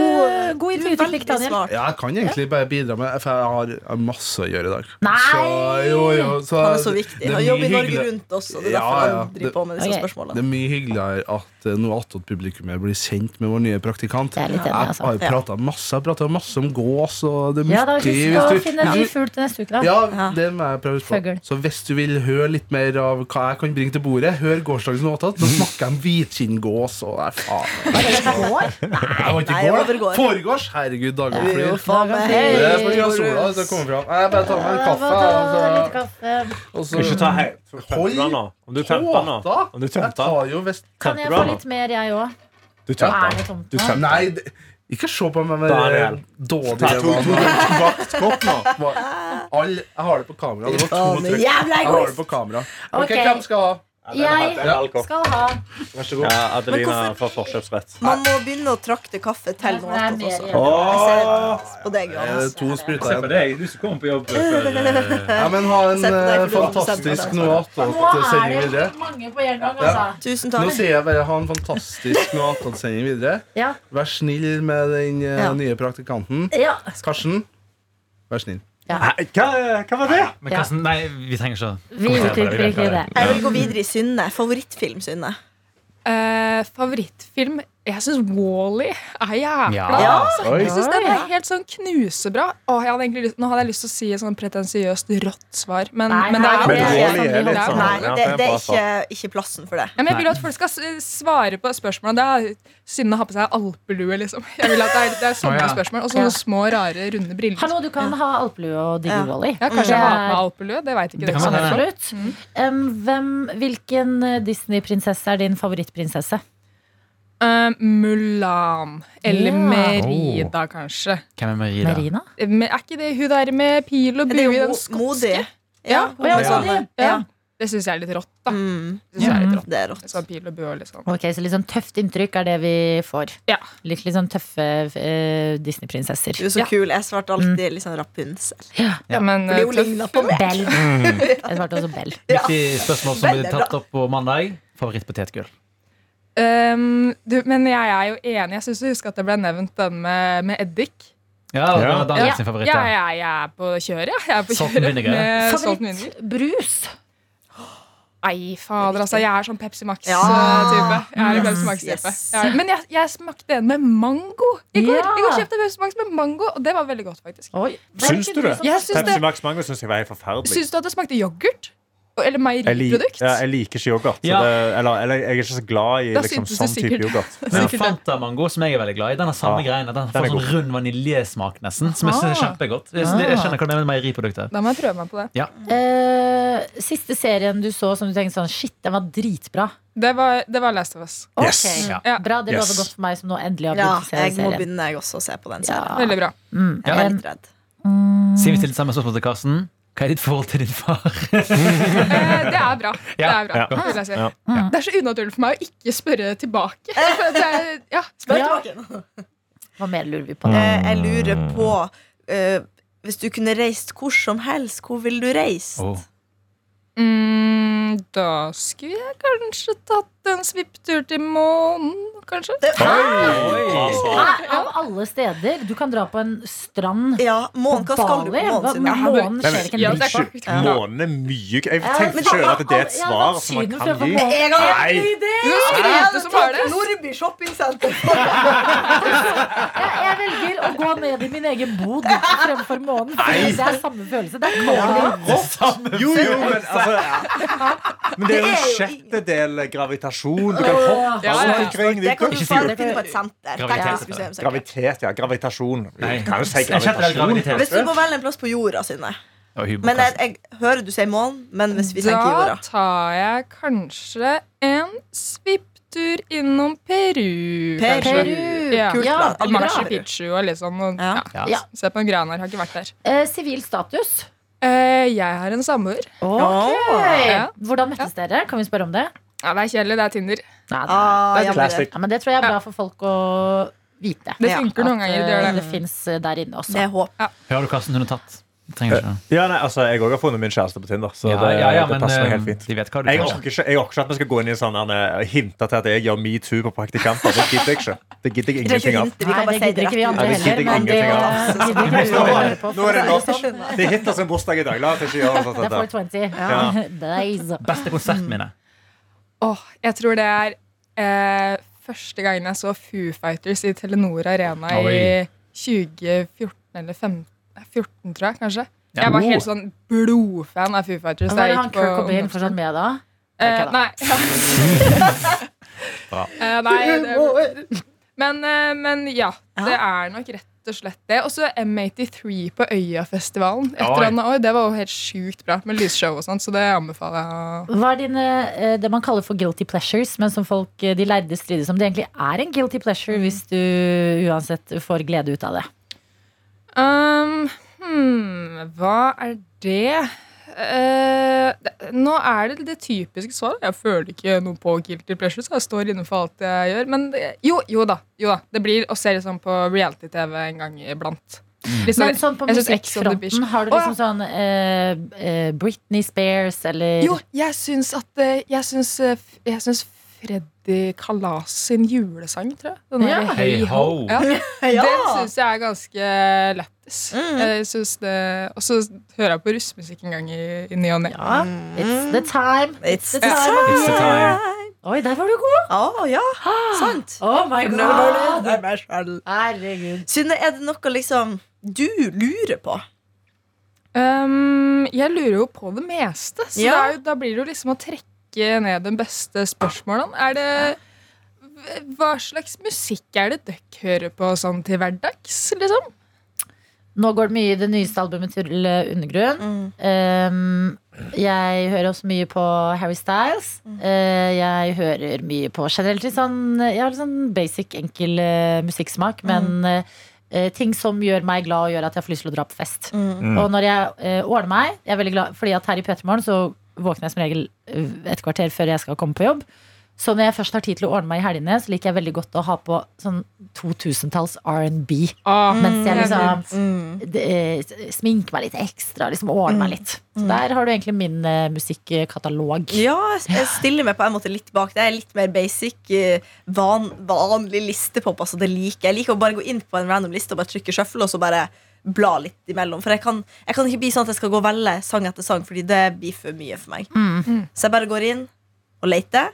Speaker 2: god
Speaker 4: God- Du er
Speaker 2: intervjuteknikk,
Speaker 4: veldig
Speaker 2: Daniel.
Speaker 4: smart.
Speaker 8: Ja, jeg kan egentlig bare bidra med For jeg har- jeg har masse å gjøre i dag.
Speaker 2: Nei!
Speaker 8: Så, jo, jo, så,
Speaker 4: Han er så viktig.
Speaker 8: det er
Speaker 4: Han jobber i
Speaker 8: mye
Speaker 4: Norge
Speaker 8: hyggelig-
Speaker 4: Rundt også. Det er
Speaker 8: Ja,
Speaker 4: derfor
Speaker 8: ja.
Speaker 4: han driver
Speaker 8: Det-
Speaker 4: på med disse
Speaker 2: Ok.
Speaker 8: Det
Speaker 4: spørsmålene.
Speaker 8: er mye hyggeligere at eh, noe attåt publikummet blir kjent med vår nye praktikant.
Speaker 2: Jeg er litt enig, altså.
Speaker 8: Jeg har prata masse, jeg pratet masse om gås og det er
Speaker 2: Ja, da
Speaker 8: mye-
Speaker 2: Husk å
Speaker 8: hvis du-
Speaker 2: finne en
Speaker 8: hvis
Speaker 2: ny
Speaker 8: du-
Speaker 2: fugl til neste uke, da.
Speaker 8: Ja, det må jeg prøve å huske på.
Speaker 2: Fugl.
Speaker 8: Så hvis du vil høre litt mer av hva jeg kan bringe til bordet, hør gårsdagens Nåtatt. Da snakker jeg om hvitkinngås og nei, faen.
Speaker 2: Var det i går?
Speaker 8: Nei, det var ikke
Speaker 4: Nei,
Speaker 8: i går,
Speaker 4: over
Speaker 8: da.
Speaker 4: går.
Speaker 8: Foregårs? Herregud, dager
Speaker 4: Det er jo
Speaker 8: flyr.
Speaker 4: faen meg
Speaker 2: Det
Speaker 8: Det er
Speaker 4: helt
Speaker 8: fordi av sola
Speaker 4: rus.
Speaker 8: som kommer fram. Nei, Jeg bare tar meg en
Speaker 2: Ja,
Speaker 8: kaffe. altså.
Speaker 2: da, litt
Speaker 8: og så-
Speaker 2: kaffe.
Speaker 8: Og så
Speaker 3: Ikke ta hei. Tømte
Speaker 8: Hold
Speaker 3: den nå. Om du tømte den nå.
Speaker 8: Tåta!
Speaker 3: Om du
Speaker 8: Jeg
Speaker 3: tømte den.
Speaker 8: tar jo vest...
Speaker 2: Kan
Speaker 3: Tømte
Speaker 2: jeg
Speaker 3: du
Speaker 2: få
Speaker 3: den nå?
Speaker 2: litt mer, jeg òg?
Speaker 3: Du
Speaker 2: Er
Speaker 3: tømte
Speaker 2: det
Speaker 3: den.
Speaker 2: tomt
Speaker 3: Du
Speaker 2: nå?
Speaker 3: tømte den.
Speaker 8: Nei, det- ikke se på meg med
Speaker 3: Daniel.
Speaker 8: dårlig
Speaker 3: Ta to, to,
Speaker 8: vane.
Speaker 3: to vaktkopp nå.
Speaker 8: All- Jeg har det på kamera. Det var to
Speaker 4: Faen,
Speaker 8: trykk.
Speaker 4: Jævla
Speaker 8: Jeg har det
Speaker 4: egoist!
Speaker 8: på kamera.
Speaker 2: Ok.
Speaker 8: Ok, hvem skal ha?
Speaker 2: Jeg
Speaker 3: Ja, alkohol.
Speaker 2: skal ha
Speaker 8: Vær så god.
Speaker 3: Ja,
Speaker 4: Men
Speaker 3: Adelina
Speaker 4: hvorfor-
Speaker 3: får forkjøpsrett.
Speaker 4: Man må begynne å trakte kaffe til noe
Speaker 2: Nei,
Speaker 4: annet
Speaker 2: det er
Speaker 4: også.
Speaker 2: mer
Speaker 4: Jeg ser på deg,
Speaker 8: Eh,
Speaker 4: Johannes.
Speaker 8: To spruter
Speaker 6: Se på
Speaker 8: igjen.
Speaker 6: deg, du som kommer på jobb før eh,
Speaker 8: Ja, men ha en
Speaker 4: Se på deg,
Speaker 8: eh,
Speaker 4: for du er produsent på
Speaker 8: fantastisk
Speaker 4: det.
Speaker 8: noe attåt eh,
Speaker 2: Nå er
Speaker 8: sending
Speaker 2: det
Speaker 8: videre.
Speaker 2: mange på en gang, altså.
Speaker 4: Tusen
Speaker 8: Nå
Speaker 4: takk.
Speaker 8: sier jeg bare ha en fantastisk noe attåt-sending videre.
Speaker 2: Ja.
Speaker 8: Vær snill med den eh,
Speaker 4: Ja.
Speaker 8: nye praktikanten.
Speaker 2: Ja.
Speaker 8: Karsten, vær snill.
Speaker 3: Hæ, Hva, hva var det?
Speaker 6: Men Karsten, nei, vi trenger ikke å
Speaker 2: Vi
Speaker 6: kommentere på det,
Speaker 2: utvikler
Speaker 6: vi
Speaker 2: ikke
Speaker 6: vet
Speaker 2: det.
Speaker 4: Jeg vil gå videre i Synne. Favorittfilm, Synne.
Speaker 5: Eh, favorittfilm Jeg syns Wally er jævla
Speaker 6: Ja.
Speaker 5: altså.
Speaker 8: Oi.
Speaker 5: Jeg synes den
Speaker 2: Ja.
Speaker 5: er helt sånn knusebra. Å, jeg hadde egentlig lyst, nå hadde jeg lyst til å si et sånn pretensiøst rått svar, men,
Speaker 2: Nei,
Speaker 5: men det
Speaker 2: nei,
Speaker 5: er
Speaker 3: Men
Speaker 2: det
Speaker 5: jo-
Speaker 3: Wall-E er litt
Speaker 5: Ja,
Speaker 3: sånn. ja,
Speaker 4: Nei, det,
Speaker 3: er
Speaker 4: det er
Speaker 3: bra
Speaker 4: ikke,
Speaker 3: svar.
Speaker 4: ikke plassen for det.
Speaker 5: Ja, men jeg
Speaker 6: Nei.
Speaker 5: vil at folk skal s- svare på spørsmålene. Det er synd å ha på seg alpelue, liksom. Jeg vil at det er, det er sånne
Speaker 6: Å, ja.
Speaker 5: spørsmål, Og
Speaker 2: Ja.
Speaker 5: sånne små, rare, runde briller.
Speaker 2: Hallo, du kan ha alpelue og digge
Speaker 4: Ja.
Speaker 2: Wally.
Speaker 5: Ja, kanskje jeg har på meg alpelue. Det veit ikke
Speaker 6: Det
Speaker 5: dere.
Speaker 6: kan
Speaker 5: som
Speaker 6: være.
Speaker 5: hører på.
Speaker 2: Absolutt. Um, hvem, hvilken eh, Disney-prinsesse er din favorittprinsesse?
Speaker 5: Eh, Mulan. Eller
Speaker 2: Ja.
Speaker 6: Oh.
Speaker 5: Merida, kanskje.
Speaker 6: Hvem er Marie, da?
Speaker 2: Merina?
Speaker 5: Eh, men Er ikke det hun der med pil og
Speaker 4: Det er
Speaker 5: bue?
Speaker 4: jo
Speaker 5: Den
Speaker 4: mo-
Speaker 5: skotske?
Speaker 4: modig.
Speaker 5: Ja,
Speaker 4: hun
Speaker 2: ja,
Speaker 4: er
Speaker 2: sånn,
Speaker 4: modig.
Speaker 5: ja.
Speaker 4: Ja.
Speaker 5: Det syns jeg er litt rått, da.
Speaker 4: Mm,
Speaker 5: Det synes jeg er litt rått.
Speaker 4: det er rått.
Speaker 5: Sånn pil og bue og litt sånn.
Speaker 2: Ok, Så litt sånn tøft inntrykk er det vi får.
Speaker 5: Ja.
Speaker 2: Litt, litt sånn tøffe eh, Disney-prinsesser.
Speaker 4: Du er så
Speaker 5: Ja.
Speaker 4: kul. Jeg svarte alltid liksom Rapunzel.
Speaker 5: Ja, men
Speaker 4: Fordi
Speaker 5: eh,
Speaker 4: hun
Speaker 5: tøff.
Speaker 4: ligner på meg. <laughs>
Speaker 2: Bell.
Speaker 3: Mm.
Speaker 2: Jeg svarte også Bell.
Speaker 6: Viktig spørsmål som blir
Speaker 4: Veldig
Speaker 6: tatt
Speaker 4: bra.
Speaker 6: opp på mandag. Favorittpotetgull.
Speaker 5: Ehm, du, men jeg er jo enig. Jeg syns du husker at det ble nevnt den med, med eddik.
Speaker 6: Ja, det var Daniel
Speaker 5: Ja.
Speaker 6: sin favoritt.
Speaker 5: Ja,
Speaker 6: Ja,
Speaker 5: ja, jeg er på kjøret. ja. Jeg er på
Speaker 6: Salt and
Speaker 5: kjøret
Speaker 6: vinegar, ja.
Speaker 5: med salt og vinegar.
Speaker 2: Favorittbrus?
Speaker 5: Nei, fader, altså. Jeg er sånn Pepsi
Speaker 4: Ja.
Speaker 5: Max-type. Jeg er en Pepsi Max-type.
Speaker 4: Yes.
Speaker 5: Jeg er- Men jeg, jeg smakte en med mango i går.
Speaker 2: Ja.
Speaker 5: I går kjøpte jeg Pepsi Max med mango, og det var veldig godt, faktisk.
Speaker 2: Oi,
Speaker 3: Syns du
Speaker 2: sånn-
Speaker 3: det?
Speaker 5: Jeg syns,
Speaker 3: Pepsi
Speaker 5: det,
Speaker 3: Max Mango syns jeg var helt forferdelig.
Speaker 5: syns du at det smakte yoghurt? Eller
Speaker 3: Jeg, lik-
Speaker 5: meieriprodukt?
Speaker 3: ja, jeg liker ikke yoghurt. så
Speaker 6: Ja.
Speaker 3: Det, eller, eller jeg er ikke så glad i
Speaker 5: Da
Speaker 3: liksom,
Speaker 5: syntes du
Speaker 3: sånn type
Speaker 5: sikkert-
Speaker 3: yoghurt.
Speaker 6: <laughs> Men Fanta mango, som jeg er veldig glad i, den har samme
Speaker 3: Ja,
Speaker 6: greiene. Den
Speaker 3: den
Speaker 6: får
Speaker 3: er
Speaker 6: sånn rund vaniljesmak, nesten, som jeg synes er
Speaker 5: Ah.
Speaker 6: kjempegodt. Jeg, synes- jeg skjønner hva du mener med meieriprodukter.
Speaker 5: Da må jeg prøve meg på det.
Speaker 2: Eh, siste serien du så som du tenkte sånn Shit, den var dritbra.
Speaker 5: Det var, det var Last of Us.
Speaker 2: Ok.
Speaker 3: Yes.
Speaker 6: Ja.
Speaker 2: Bra, det lover
Speaker 3: Yes.
Speaker 2: godt for meg som nå endelig har
Speaker 4: Ja,
Speaker 2: begynt å se
Speaker 4: jeg må
Speaker 2: serien.
Speaker 4: begynne jeg også å se på den.
Speaker 2: Ja.
Speaker 4: serien.
Speaker 5: Veldig
Speaker 4: <laughs>
Speaker 5: bra.
Speaker 2: Mm.
Speaker 4: Jeg er
Speaker 2: En-
Speaker 4: litt redd.
Speaker 5: Mm.
Speaker 6: Siden vi stilte samme spørsmål til Karsten, hva er ditt forhold til din far?
Speaker 5: Eh, det er bra. Det
Speaker 6: Ja,
Speaker 5: er bra,
Speaker 3: ja.
Speaker 5: vil jeg si.
Speaker 3: Ja.
Speaker 4: Mm.
Speaker 5: Det er så unaturlig for meg å ikke
Speaker 4: <laughs>
Speaker 5: spørre tilbake. For det er, ja,
Speaker 4: Spør
Speaker 2: Ja.
Speaker 4: tilbake.
Speaker 2: Hva mer lurer vi på?
Speaker 3: Mm.
Speaker 4: Eh, Jeg lurer på eh, Hvis du kunne reist hvor som helst, hvor ville du reist?
Speaker 6: Oh.
Speaker 5: Mm, da skulle jeg kanskje tatt en svipptur til månen, kanskje.
Speaker 4: Det,
Speaker 3: Oi!
Speaker 2: Hæ? Eh, Av alle steder! Du kan dra på en strand
Speaker 4: ja, månen, hva
Speaker 2: på
Speaker 4: skal du på
Speaker 2: Bali. Hva-
Speaker 4: månen
Speaker 2: men
Speaker 4: sin?
Speaker 2: månen
Speaker 3: Nei,
Speaker 2: skjer ikke en
Speaker 5: Ja,
Speaker 2: dritt på.
Speaker 5: det
Speaker 3: Unnskyld, månen er mye Jeg
Speaker 2: men
Speaker 3: tenkte
Speaker 2: det-
Speaker 3: selv at det er et
Speaker 2: Ja,
Speaker 3: svar
Speaker 2: men
Speaker 3: som man
Speaker 2: syden
Speaker 3: kan
Speaker 2: fremfor
Speaker 3: gi.
Speaker 2: månen.
Speaker 4: Jeg har
Speaker 3: Nei.
Speaker 4: en idé!
Speaker 5: Du skrøt som bare det.
Speaker 4: Nordby shoppingsenter.
Speaker 2: Jeg, jeg velger å gå ned i min egen bod fremfor månen. fordi Det er samme følelse. Det er calling.
Speaker 3: Jo, jo, men altså Men det er jo en sjettedel gravitasjon. Du kan hoppe
Speaker 5: Ja, ja, ja.
Speaker 3: rundt omkring. Det
Speaker 4: Det
Speaker 3: er
Speaker 4: kan du
Speaker 3: ikke
Speaker 4: få
Speaker 3: kult.
Speaker 4: det finne på et senter. Teknisk museum, sikkert.
Speaker 3: Gravitet, ja. Gravitasjon. Du
Speaker 6: Nei.
Speaker 3: kan jo si
Speaker 6: Jeg kjente det er
Speaker 3: gravitasjon.
Speaker 6: gravitet.
Speaker 4: Hvis du må velge en plass på jorda, Synne
Speaker 6: Og humor,
Speaker 4: Men
Speaker 3: eh,
Speaker 4: jeg,
Speaker 6: Karsten.
Speaker 4: jeg hører du sier månen, men hvis vi tenker
Speaker 5: Da
Speaker 4: jorda
Speaker 5: tar jeg kanskje en svipptur innom Peru.
Speaker 4: Peru.
Speaker 5: kanskje.
Speaker 2: Peru.
Speaker 5: Ja.
Speaker 4: Kult
Speaker 2: Ja,
Speaker 4: land.
Speaker 5: Til
Speaker 4: Bra.
Speaker 5: Machu Picchu og litt sånn. Og,
Speaker 4: Ja.
Speaker 5: ja.
Speaker 2: Ja.
Speaker 5: Se på den greia her, har ikke vært der.
Speaker 2: Eh, Sivil status.
Speaker 5: Eh, jeg har en samboer.
Speaker 4: Ah,
Speaker 5: Ja.
Speaker 2: Hvordan møttes dere? Kan vi spørre om det?
Speaker 5: Ja, det er kjedelig, det er
Speaker 2: Nei,
Speaker 5: Tinder.
Speaker 2: det,
Speaker 4: Ah,
Speaker 5: Det er
Speaker 4: jeg
Speaker 5: classic.
Speaker 4: bare-
Speaker 2: ja, men det tror jeg er bra for folk å vite.
Speaker 5: Det
Speaker 4: Ja,
Speaker 5: funker noen ganger.
Speaker 2: eh,
Speaker 5: Det
Speaker 2: det
Speaker 5: gjør det.
Speaker 2: fins der inne også.
Speaker 4: Det er håp.
Speaker 6: Hører du Karsten hun har tatt? Trenger ikke det.
Speaker 3: Ja, nei, altså, jeg òg har funnet min kjæreste på Tinder, så
Speaker 6: Ja,
Speaker 3: det,
Speaker 6: ja, ja,
Speaker 3: det
Speaker 6: men
Speaker 3: passer meg
Speaker 6: eh,
Speaker 3: helt fint.
Speaker 6: de vet hva du
Speaker 3: Jeg
Speaker 6: kan.
Speaker 3: orker ikke, jeg orker ikke at vi skal gå inn i sånn eh, hinte til at jeg gjør metoo på praktikanter. Det gidder jeg ikke. Det gidder jeg
Speaker 4: Vi trenger ikke
Speaker 3: ingenting av.
Speaker 4: hinte, vi kan
Speaker 2: Nei,
Speaker 4: bare
Speaker 2: det
Speaker 4: si
Speaker 2: gidder
Speaker 4: det
Speaker 2: ikke vi
Speaker 4: rett
Speaker 2: andre
Speaker 3: Nei, det
Speaker 2: heller. Men det
Speaker 3: gidder ingenting
Speaker 4: av.
Speaker 2: gidder ikke
Speaker 3: Nå
Speaker 2: <laughs> vi
Speaker 3: er det-
Speaker 2: høre på.
Speaker 3: nå er det
Speaker 2: for å si
Speaker 4: ut.
Speaker 3: Det er Hitler sin bursdag i dag. La oss ikke gjøre noe sånt.
Speaker 2: Det er
Speaker 3: dette.
Speaker 2: 420.
Speaker 3: Ja.
Speaker 2: <laughs> Blaze.
Speaker 6: Beste konsertminne.
Speaker 5: Åh, jeg tror det er eh, første gangen jeg så Foo Fighters i Telenor Arena
Speaker 6: Oi.
Speaker 5: i 2014 eller 15, 14, tror jeg, kanskje.
Speaker 6: Ja.
Speaker 5: Jeg var
Speaker 6: Oh.
Speaker 5: helt sånn blodfan av Foo Fighters. da
Speaker 2: Var det
Speaker 5: jeg
Speaker 2: han
Speaker 5: gikk på
Speaker 2: Kirk Cobain
Speaker 5: ungdomsskolen.
Speaker 2: fortsatt med da?
Speaker 5: Eh,
Speaker 2: Ok, da.
Speaker 5: nei.
Speaker 6: Bra.
Speaker 5: <laughs> Eh, nei det, men, eh, men ja, det er nok rett rett og slett det. Og så M83 på Øyafestivalen. Et eller
Speaker 6: Oi.
Speaker 5: annet år. Det var jo helt sjukt bra med lysshow og sånt, så det anbefaler jeg. å-
Speaker 2: Hva er dine, eh, det man kaller for guilty pleasures, men som folk, eh, de lærde strides om? Det egentlig er en guilty pleasure
Speaker 5: Mm.
Speaker 2: hvis du uansett får glede ut av det.
Speaker 5: Um, hmm, hva er det? Eh, det- nå er det det typiske svaret. Jeg føler ikke noe på guilty pleasure, så jeg står inne for alt jeg gjør. Men det, jo, jo da. jo da Det blir å se liksom på reality-TV en gang iblant. Liksom,
Speaker 2: Men sånn på
Speaker 5: jeg synes Ex on the Beach-
Speaker 2: musikkfronten, har du
Speaker 5: Å,
Speaker 2: liksom sånn eh, eh, Britney Spears eller
Speaker 5: Jo, jeg syns at eh, Jeg syns, eh, f- jeg syns Freddy Kalas sin julesang, tror jeg. Den
Speaker 2: Ja.
Speaker 5: der
Speaker 6: Hey ho.
Speaker 5: sånn, <laughs> Ja.
Speaker 4: Ja.
Speaker 5: Den syns jeg er ganske lættis.
Speaker 4: Mm.
Speaker 5: Jeg synes det- Og så hører jeg på russmusikk en gang i, i ny og ne.
Speaker 2: Ja. It's the time.
Speaker 4: It's
Speaker 2: the
Speaker 4: the
Speaker 2: time.
Speaker 4: time.
Speaker 3: It's the time.
Speaker 2: Oi, der var du god!
Speaker 4: Å, ja, sant.
Speaker 2: Oh my god! Herregud.
Speaker 4: Synne, er det noe liksom du lurer på?
Speaker 5: Um, jeg lurer jo på det meste, så
Speaker 4: Ja.
Speaker 5: det er jo, da blir det jo liksom å trekke ned den beste spørsmålen. Er det Hva slags musikk er det dere hører på sånn til hverdags, liksom?
Speaker 2: Nå går det mye i det nyeste albumet til eh, Undergrunn. Ehm, jeg hører også mye på Harry Styles. Eh, jeg hører mye på generelt litt sånn Jeg har litt sånn basic, enkel eh, musikksmak, men eh, eh, ting som gjør meg glad og gjør at jeg får lyst til å dra på fest.
Speaker 3: Mm.
Speaker 2: Og når jeg eh, ordner meg Jeg er veldig glad Fordi at her i Petermorgen så våkner jeg som regel eh, et kvarter før jeg skal komme på jobb Så når jeg først har tid til å ordne meg i helgene Så liker jeg veldig godt å ha på sånn 2000-talls R&B Mens
Speaker 5: Mm.
Speaker 2: jeg liksom det, eh, sminker meg litt ekstra Liksom ordner meg litt Så der har du egentlig min eh, musikkatalog
Speaker 4: Ja, jeg- jeg stiller meg på en måte litt bak. Det er litt mer basic, eh, van, vanlig listepop. Altså, det liker jeg. Jeg liker å bare gå inn på en random liste og bare trykke shuffle og så bare bla litt imellom. For jeg kan, jeg kan ikke bli sånn at jeg skal gå og velge sang etter sang, Fordi det blir for mye for meg.
Speaker 5: Mm.
Speaker 4: Så jeg bare går inn og leter.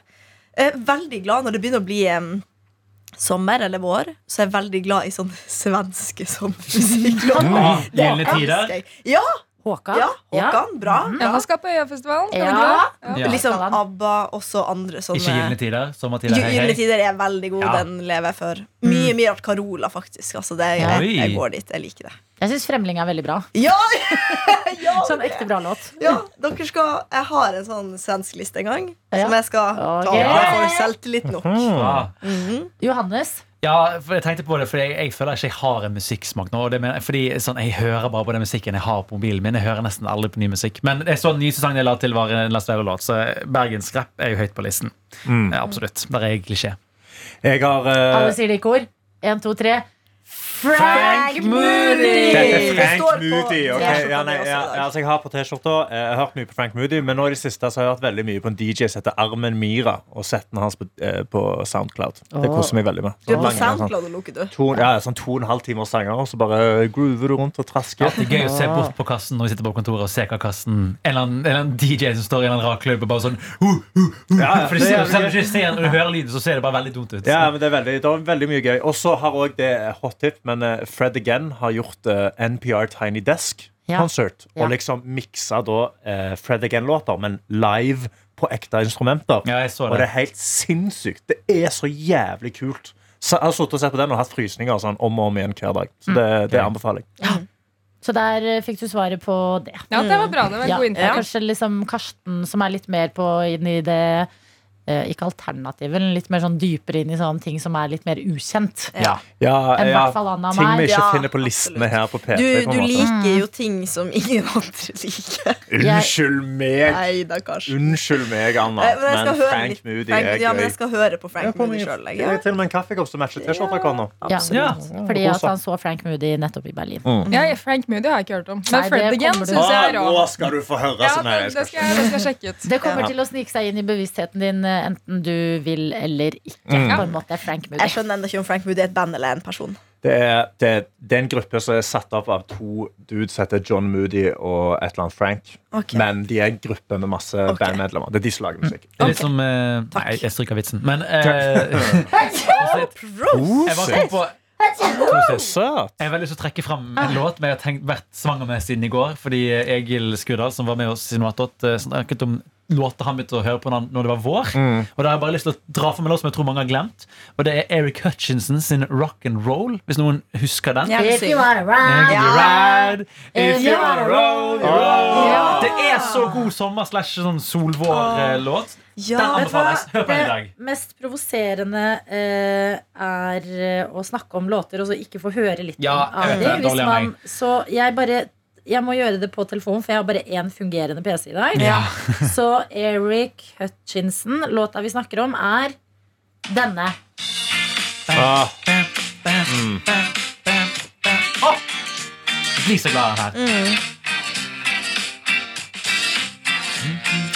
Speaker 4: Eh, Veldig glad når det begynner å bli em, sommer eller vår, så er jeg veldig glad i sånn svenske
Speaker 6: Mm.
Speaker 4: sommermusikklåter. Det
Speaker 6: Gylne tider.
Speaker 4: elsker jeg. Ja,
Speaker 2: Håkan
Speaker 4: ja, Håkan, bra.
Speaker 5: Mm. Ja, han skal på Øyafestivalen. skal han
Speaker 2: Ja.
Speaker 5: ikke det?
Speaker 6: Ja.
Speaker 4: Liksom
Speaker 2: Skal han?
Speaker 4: ABBA, også andre sånne
Speaker 6: Ikke gylne tider. Sommertider.
Speaker 4: Gy-
Speaker 6: Hei,
Speaker 4: Gyldne
Speaker 6: hei.
Speaker 4: tider er veldig god.
Speaker 6: Ja.
Speaker 4: Den lever jeg for. Mye mye rart Carola, faktisk. Altså, det, er- jeg,
Speaker 6: Oi.
Speaker 4: jeg går dit. Jeg liker det.
Speaker 2: Jeg synes Fremling er veldig bra
Speaker 4: Ja! ja,
Speaker 2: Sånn ekte bra låt
Speaker 4: ja dere skal, jeg har en sånn svensk liste en gang
Speaker 2: Ja.
Speaker 4: som jeg skal ta
Speaker 2: Ok.
Speaker 4: opp. Jeg får selvtillit nok.
Speaker 6: Ah.
Speaker 2: Johannes
Speaker 6: Ja, for jeg tenkte på det, for jeg, jeg føler ikke jeg har en musikksmak nå. Og det mener, jeg- fordi sånn, Jeg hører bare på den musikken jeg har på mobilen min. Jeg hører nesten aldri på ny musikk. Men jeg så den nyeste sangen jeg la til, var en Lars Vaular-låt, så Bergens Rapp er jo høyt på listen.
Speaker 3: Mm.
Speaker 6: Ja, absolutt. Der er jeg klisjé.
Speaker 3: Jeg har eh,
Speaker 2: Alle sier det i kor 1, 2, 3 Frank Moody
Speaker 3: Dette
Speaker 4: Det
Speaker 3: er Frank
Speaker 4: står på
Speaker 3: Moody. ok.
Speaker 4: T-skjorta
Speaker 3: Ja, nei,
Speaker 4: mi også i
Speaker 3: ja,
Speaker 4: dag.
Speaker 3: altså jeg har på T-skjorta eh, Jeg har hørt mye på Frank Moody, men nå i det siste så har jeg hørt veldig mye på en DJ som heter Armen Mira, og settene hans på, eh, på Soundcloud. Det
Speaker 2: Åh.
Speaker 3: koser meg veldig med.
Speaker 4: Du er på
Speaker 3: Lange, sånn,
Speaker 4: SoundCloud og lukker, du.
Speaker 3: to, ja, sånn to og en halv timers sanger, og så bare eh, groover du rundt og trasker.
Speaker 6: Det er gøy å se bort på kassen når vi sitter på kontoret og se hva kassen En eller annen, en eller annen DJ som står i en eller annen rar klubb og bare sånn uh, uh, uh.
Speaker 3: Ja, ja,
Speaker 6: For det,
Speaker 3: det er
Speaker 6: ser-
Speaker 3: jævlig
Speaker 6: Selv om
Speaker 3: gøy.
Speaker 6: du ikke ser når du hører lyden, så ser det bare veldig dumt ut.
Speaker 3: Ja, men det er veldig, det er veldig mye gøy. Og så har òg det hot tip, men eh, Fred Again har gjort eh, NPR Tiny
Speaker 2: Ja.
Speaker 3: Desk-konsert.
Speaker 2: Ja.
Speaker 3: Og liksom miksa da eh, Fred Again-låter, men live på ekte instrumenter.
Speaker 6: Ja, jeg så det.
Speaker 3: Og det er helt sinnssykt. Det er så jævlig kult. Så jeg har sittet og sett på den og hatt frysninger og sånn, om og om igjen hver dag.
Speaker 4: Mm.
Speaker 3: Så det, det anbefaler jeg.
Speaker 2: Så der eh, fikk du svaret på det.
Speaker 5: Ja, det var bra. Det var en
Speaker 2: Ja,
Speaker 5: god inntak.
Speaker 2: Kanskje liksom Karsten, som er litt mer på inn i det eh, Ikke alternativet, men litt mer sånn dypere inn i sånne ting som er litt mer ukjent.
Speaker 6: Ja.
Speaker 3: Ja,
Speaker 2: Enn
Speaker 3: ja,
Speaker 2: hvertfall han og
Speaker 3: ting vi
Speaker 2: meg.
Speaker 3: ikke
Speaker 4: Ja,
Speaker 3: finner på listene her på P3.
Speaker 4: Du,
Speaker 3: på
Speaker 4: du
Speaker 3: en måte.
Speaker 4: liker jo ting som ingen andre <laughs> liker.
Speaker 3: Unnskyld meg!
Speaker 4: Nei da, kanskje.
Speaker 3: Unnskyld meg, Anna.
Speaker 4: Eh, Men jeg skal høre litt
Speaker 3: Frank Moody
Speaker 4: Frank,
Speaker 3: er
Speaker 4: ja, men
Speaker 3: gøy.
Speaker 4: jeg skal høre på Frank
Speaker 3: på
Speaker 4: Moody
Speaker 3: min-
Speaker 4: sjøl.
Speaker 3: jeg har til og med en kaffekopp som matcher T-skjorta.
Speaker 2: Ja.
Speaker 6: Ja.
Speaker 2: Fordi
Speaker 3: Ja,
Speaker 2: at han så Frank Moody nettopp i Berlin.
Speaker 5: Ja, ja, Frank Moody har jeg ikke hørt om. Men
Speaker 2: Nei, det
Speaker 5: Fred Again
Speaker 2: kommer du-
Speaker 5: syns jeg
Speaker 3: Ah,
Speaker 5: er
Speaker 3: Nå
Speaker 5: rå.
Speaker 3: skal du få høre!
Speaker 5: Ja,
Speaker 3: sånn her.
Speaker 5: det, det, skal jeg, det skal jeg sjekke ut.
Speaker 2: Det kommer
Speaker 3: Ja.
Speaker 2: til å snike seg inn i bevisstheten din eh, enten du vil eller ikke.
Speaker 6: Mm.
Speaker 2: På en måte er Frank Moody.
Speaker 4: Jeg skjønner ennå ikke om Frank Moody er et band eller en person.
Speaker 3: det, er, det, er- det er en gruppe som er satt opp av to dudes som heter John Moody og et eller annet Frank.
Speaker 4: Ok.
Speaker 3: Men de er en gruppe med masse bandmedlemmer. Det er de som lager musikk.
Speaker 6: Det er litt som eh, Nei, jeg stryker vitsen.
Speaker 3: <laughs>
Speaker 6: Men eh, <laughs> jeg var
Speaker 3: Prosit!
Speaker 6: på
Speaker 3: Søt!
Speaker 6: Jeg har veldig lyst til å trekke fram en låt vi har tenkt, vært svanger med siden i går. Fordi Egil Skurdal, som var med oss i Noatot, eh, snakket om låter han begynte å høre på når, når det var vår. Og da har jeg bare lyst til å dra for meg låt som jeg tror mange har glemt. Og det er Eric Hutchinson sin Rock and Roll, hvis noen husker den.
Speaker 4: Ja,
Speaker 2: If you wanna
Speaker 6: If
Speaker 2: ride
Speaker 6: you ride, if you wanna roll, you roll.
Speaker 2: Ja.
Speaker 6: Det er så god sommer slash sånn solvår-låt. Den
Speaker 4: Ja,
Speaker 6: anbefales. Hør på den i dag.
Speaker 2: Det mest provoserende eh, er eh, å snakke om låter og så ikke få høre litt
Speaker 6: Ja,
Speaker 2: av
Speaker 6: jeg
Speaker 2: det.
Speaker 6: vet det.
Speaker 2: Hvis
Speaker 6: Dårlig av
Speaker 2: man,
Speaker 6: meg.
Speaker 2: så jeg bare jeg må gjøre det på telefonen, for jeg har bare én fungerende PC i dag.
Speaker 6: Ja.
Speaker 2: så Eric Hutchinson, låta vi snakker om, er denne.
Speaker 3: Ah,
Speaker 6: Blir Ah. så glad av den her.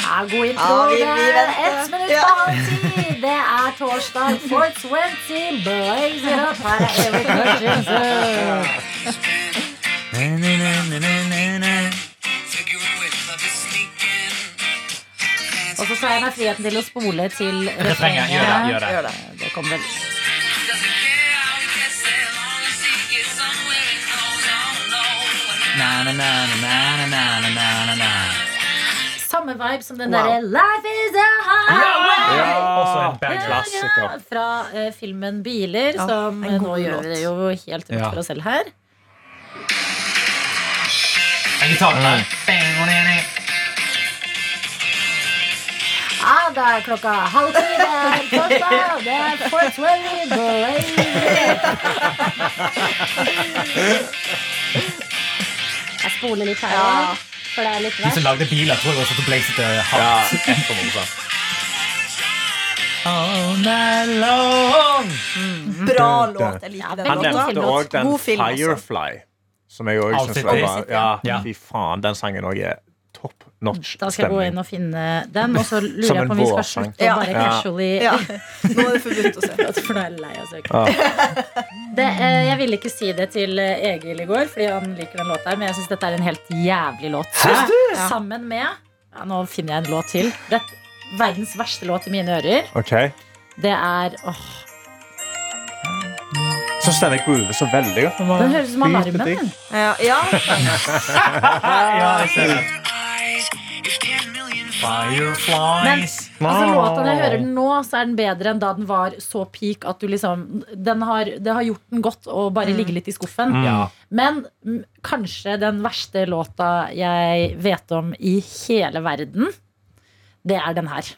Speaker 2: Ja, god intro.
Speaker 4: Ja, vi- vi
Speaker 2: det er
Speaker 4: venter.
Speaker 2: Ett minutt på halv ti. Det er torsdag 420. Blaze it up. Her er Eric Hutchinson. Og så tar jeg meg friheten til å spole til
Speaker 6: Refrenget. Gjør det. gjør det
Speaker 4: gjør det.
Speaker 2: Det kom vel
Speaker 6: na, na, na, na, na, na, na, na, na, na.
Speaker 2: Samme vibe som den
Speaker 4: Wow.
Speaker 2: derre Life is a highway
Speaker 6: Også en banger.
Speaker 3: klassiker.
Speaker 2: fra eh, filmen Biler,
Speaker 4: Ja,
Speaker 2: som eh,
Speaker 4: en
Speaker 2: nå
Speaker 4: god
Speaker 2: gjør vi
Speaker 4: låt.
Speaker 2: det jo helt rundt
Speaker 6: Ja.
Speaker 2: for oss selv her.
Speaker 6: En gitar der.
Speaker 2: Mm. Ja, da er klokka halv ti. Det er torsdag, det er 420 Blaze. Jeg spoler litt her
Speaker 4: Ja.
Speaker 2: òg, for det er litt
Speaker 6: De som
Speaker 2: verst.
Speaker 6: lagde biler, tror jeg også at Blaze til
Speaker 3: ja,
Speaker 6: hardt.
Speaker 3: 100%.
Speaker 6: All night long.
Speaker 4: Bra låt. Jeg liker den
Speaker 3: Han
Speaker 2: veldig god
Speaker 3: nevnte
Speaker 4: låta.
Speaker 2: film
Speaker 3: òg den
Speaker 4: God film, altså.
Speaker 3: Firefly. Som jeg òg syns
Speaker 6: Outfit
Speaker 3: var
Speaker 6: is.
Speaker 3: bra. Ja,
Speaker 6: Ja.
Speaker 3: fy faen, den sangen òg er top notch
Speaker 2: Da skal jeg gå
Speaker 3: stemning.
Speaker 2: inn og finne den, og så
Speaker 3: Som
Speaker 2: lurer jeg
Speaker 3: en
Speaker 2: på om vi skal
Speaker 3: vårsang.
Speaker 2: slutte å bare
Speaker 3: Ja.
Speaker 2: casually
Speaker 4: Ja. Nå er det forbudt å se.
Speaker 2: For nå er jeg lei av å søke.
Speaker 3: Ja.
Speaker 2: Det, eh, jeg ville ikke si det til eh, Egil i går, fordi han liker den låta her, men jeg syns dette er en helt jævlig låt. Ja. Sammen med ja, Nå finner jeg en låt til. Det er verdens verste låt i mine ører.
Speaker 3: Ok,
Speaker 2: Det er åh,
Speaker 3: Så stemmer jeg groove så veldig godt.
Speaker 2: Den høres ut som
Speaker 3: Fy,
Speaker 2: alarmen.
Speaker 3: det er
Speaker 2: den.
Speaker 4: Ja, ja.
Speaker 6: Ja, jeg ser det. Fireflies.
Speaker 2: Altså, låta når jeg hører den nå, så er den bedre enn da den var så peak at du liksom den har, Det har gjort den godt å bare ligge litt i skuffen.
Speaker 6: Ja.
Speaker 2: Men mm, kanskje den verste låta jeg vet om i hele verden, det er den her.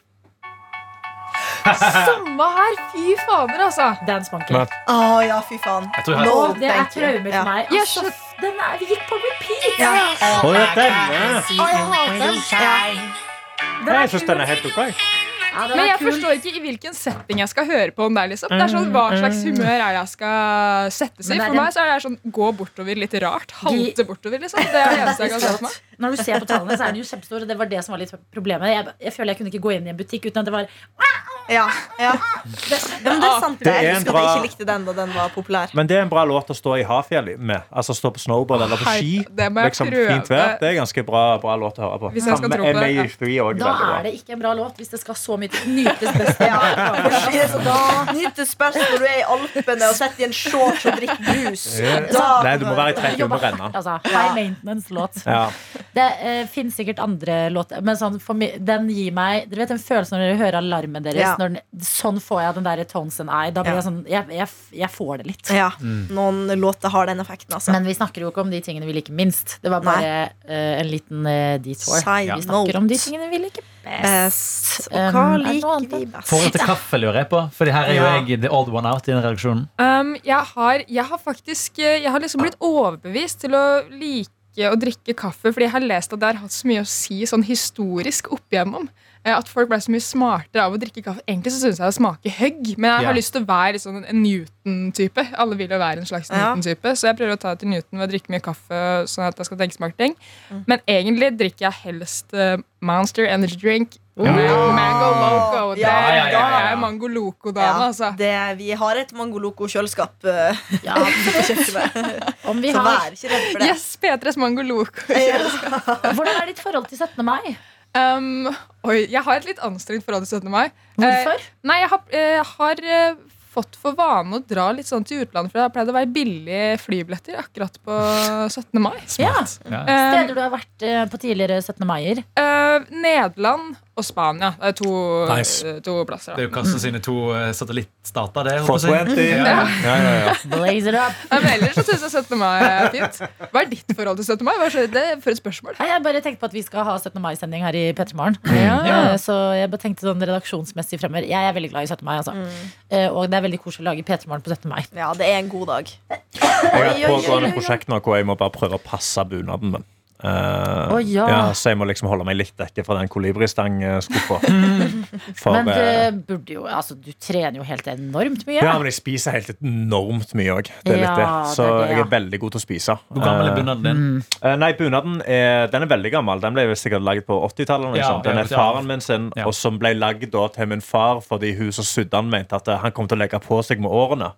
Speaker 5: Samme her! Fy fader, altså.
Speaker 2: Dance Monkey.
Speaker 3: Men-
Speaker 4: Å ja, fy faen.
Speaker 6: Jeg tror jeg har-
Speaker 4: Nå
Speaker 2: Og det er
Speaker 4: tenker jeg.
Speaker 2: traumer
Speaker 4: Ja.
Speaker 2: for meg.
Speaker 5: Ja,
Speaker 2: Altså, den er, vi gikk på repeat!
Speaker 4: Ja.
Speaker 3: Å, det er denne.
Speaker 2: Den
Speaker 3: Nei,
Speaker 2: er
Speaker 3: Jeg syns
Speaker 2: kul.
Speaker 3: den er helt OK.
Speaker 2: Ja, den
Speaker 5: Men
Speaker 2: er
Speaker 5: jeg
Speaker 2: kul.
Speaker 5: forstår ikke i hvilken setting jeg skal høre på om det. liksom Det er sånn, Hva slags humør er det jeg skal sette seg
Speaker 2: Men
Speaker 5: i?
Speaker 2: det er
Speaker 5: For
Speaker 2: en-
Speaker 5: meg så er det sånn gå bortover litt rart.
Speaker 2: De-
Speaker 5: Halte bortover, liksom. Det er det eneste jeg kan se for meg.
Speaker 2: Når du ser på tallene, så er den jo kjempestor, og det var det som var litt problemet. Jeg, jeg føler jeg kunne ikke gå inn i en butikk uten at det var
Speaker 4: Ja, ja. Det, ja, men det er sant.
Speaker 3: Det er
Speaker 4: Jeg
Speaker 3: en
Speaker 4: husker at jeg
Speaker 3: bra-
Speaker 4: ikke likte den da den var populær.
Speaker 3: Men det er en bra låt å stå i havfjell med. Altså stå på snowboard eller på ski.
Speaker 5: Hei, det må jeg
Speaker 3: Liksom,
Speaker 5: prøve.
Speaker 3: fint vær. Det er ganske bra, bra låt å høre på.
Speaker 5: Hvis jeg skal tro på det, ja.
Speaker 3: MA3 òg.
Speaker 2: Da er det ikke en bra låt hvis det skal så mye til nytes best.
Speaker 4: Så da nytes best når du er i Alpene og sitter i en shorts og drikker brus. Da-
Speaker 3: Nei, du må være i 30
Speaker 2: Jobba
Speaker 3: under
Speaker 2: hardt,
Speaker 3: renna.
Speaker 2: altså. High maintenance-låt.
Speaker 3: Ja.
Speaker 2: Det eh, finnes sikkert andre låter, men sånn, for mi- den gir meg Dere vet den følelsen når dere hører alarmen deres.
Speaker 4: Ja.
Speaker 2: Når den, sånn får jeg den der Tones and I. Da blir
Speaker 4: Ja.
Speaker 2: jeg sånn jeg, jeg, jeg får det litt.
Speaker 4: Ja,
Speaker 3: Mm.
Speaker 4: Noen låter har den effekten, altså.
Speaker 2: Men vi snakker jo ikke om de tingene vi liker minst. Det var bare eh, en liten eh, detour.
Speaker 4: Side
Speaker 2: Vi snakker om de
Speaker 4: note.
Speaker 2: tingene vi liker best.
Speaker 4: Best. Og
Speaker 2: Um,
Speaker 4: hva
Speaker 2: er det noe annet,
Speaker 4: liker
Speaker 2: da?
Speaker 4: vi
Speaker 6: Forholdet
Speaker 4: best?
Speaker 6: til kaffe lurer jeg på, Fordi her er jo
Speaker 4: Ja.
Speaker 6: jeg the old one out i den redaksjonen.
Speaker 5: Um, jeg, har, jeg har faktisk eh, Jeg har liksom blitt overbevist til å like å drikke kaffe, fordi jeg har lest at det har hatt så mye å si sånn historisk opp igjennom. Eh, At folk ble så mye smartere av å drikke kaffe. Egentlig så syns jeg det smaker høgg, men jeg
Speaker 6: Ja.
Speaker 5: har lyst til å være litt sånn en Newton-type. Alle vil jo være en slags
Speaker 4: Ja.
Speaker 5: Newton-type, så jeg prøver å ta det til Newton ved å drikke mye kaffe. Sånn at jeg skal tenke smarte ting
Speaker 4: Mm.
Speaker 5: Men egentlig drikker jeg helst eh, Monster Energy Drink. Mango Loco. Det,
Speaker 4: Ja,
Speaker 6: ja, ja, ja,
Speaker 5: Da
Speaker 6: ja.
Speaker 5: er jeg Mango Loco-dame,
Speaker 4: Ja,
Speaker 5: altså.
Speaker 4: det, vi har et mangoloco-kjøleskap eh,
Speaker 2: Ja,
Speaker 4: <laughs> på kjøkkenet.
Speaker 2: om vi
Speaker 4: Så
Speaker 2: har,
Speaker 4: vær ikke redd for det.
Speaker 5: Yes, P3s Mango Loco.
Speaker 2: hvordan er ditt forhold til 17. mai?
Speaker 4: Eh,
Speaker 5: Um, oi, jeg har et litt anstrengt forhold til 17. mai.
Speaker 2: Hvorfor?
Speaker 5: Nei, jeg har, eh, har eh, fått for vane å dra litt sånn til utlandet, for det har pleid å være billige flybilletter akkurat på 17. mai.
Speaker 2: ja.
Speaker 6: Ja.
Speaker 5: Um,
Speaker 2: Steder du har vært eh, på tidligere 17. maier.
Speaker 5: eh, Nederland og Spania. Det er to,
Speaker 9: Nice.
Speaker 5: eh, to plasser. Da.
Speaker 6: Det er jo Karsten sine to eh, satellittstater. det, holdt
Speaker 3: For
Speaker 6: jeg på å si.
Speaker 3: 20. Ja,
Speaker 5: <laughs>
Speaker 3: ja, ja.
Speaker 2: Blaze it up.
Speaker 5: Nei, Men ellers så syns jeg 17. mai er fint. Hva er ditt forhold til 17. mai? Hva er så- det for et spørsmål?
Speaker 2: Nei, jeg bare tenkte på at vi skal ha 17. mai-sending her i Petremorgen.
Speaker 5: Ja.
Speaker 2: Eh, Så jeg bare tenkte sånn redaksjonsmessig fremover. Jeg er veldig glad i 17. mai, altså. Eh, Og det er veldig koselig å lage Petremorgen på 17. mai.
Speaker 4: Ja, det er en god dag.
Speaker 3: Jeg har
Speaker 4: Oi,
Speaker 3: et
Speaker 4: oi,
Speaker 3: pågående
Speaker 4: oi, oi.
Speaker 3: prosjekt nå hvor jeg må bare prøve å passe bunaden min. Eh,
Speaker 2: Å, ja.
Speaker 3: så jeg må liksom holde meg litt vekk fra den kolibristangskuffa.
Speaker 2: <laughs>
Speaker 3: For
Speaker 2: Men
Speaker 3: eh,
Speaker 2: du burde jo Altså, du trener jo helt enormt mye.
Speaker 3: ja, men jeg spiser helt enormt mye òg. Det er
Speaker 2: Ja,
Speaker 3: litt det. Så
Speaker 2: det er det, ja.
Speaker 3: jeg er veldig god til å spise.
Speaker 6: Hvor gammel
Speaker 3: Eh,
Speaker 6: er bunaden din?
Speaker 3: Eh, Nei, bunaden er, den er veldig gammel. Den ble vel sikkert lagd på 80-tallet. eller noe
Speaker 6: Ja,
Speaker 3: sånt. den
Speaker 6: ja,
Speaker 3: er
Speaker 6: ja.
Speaker 3: faren min sin,
Speaker 6: Ja.
Speaker 3: og som ble lagd da til min far fordi hun som sydde han mente at eh, han kom til å legge på seg med årene.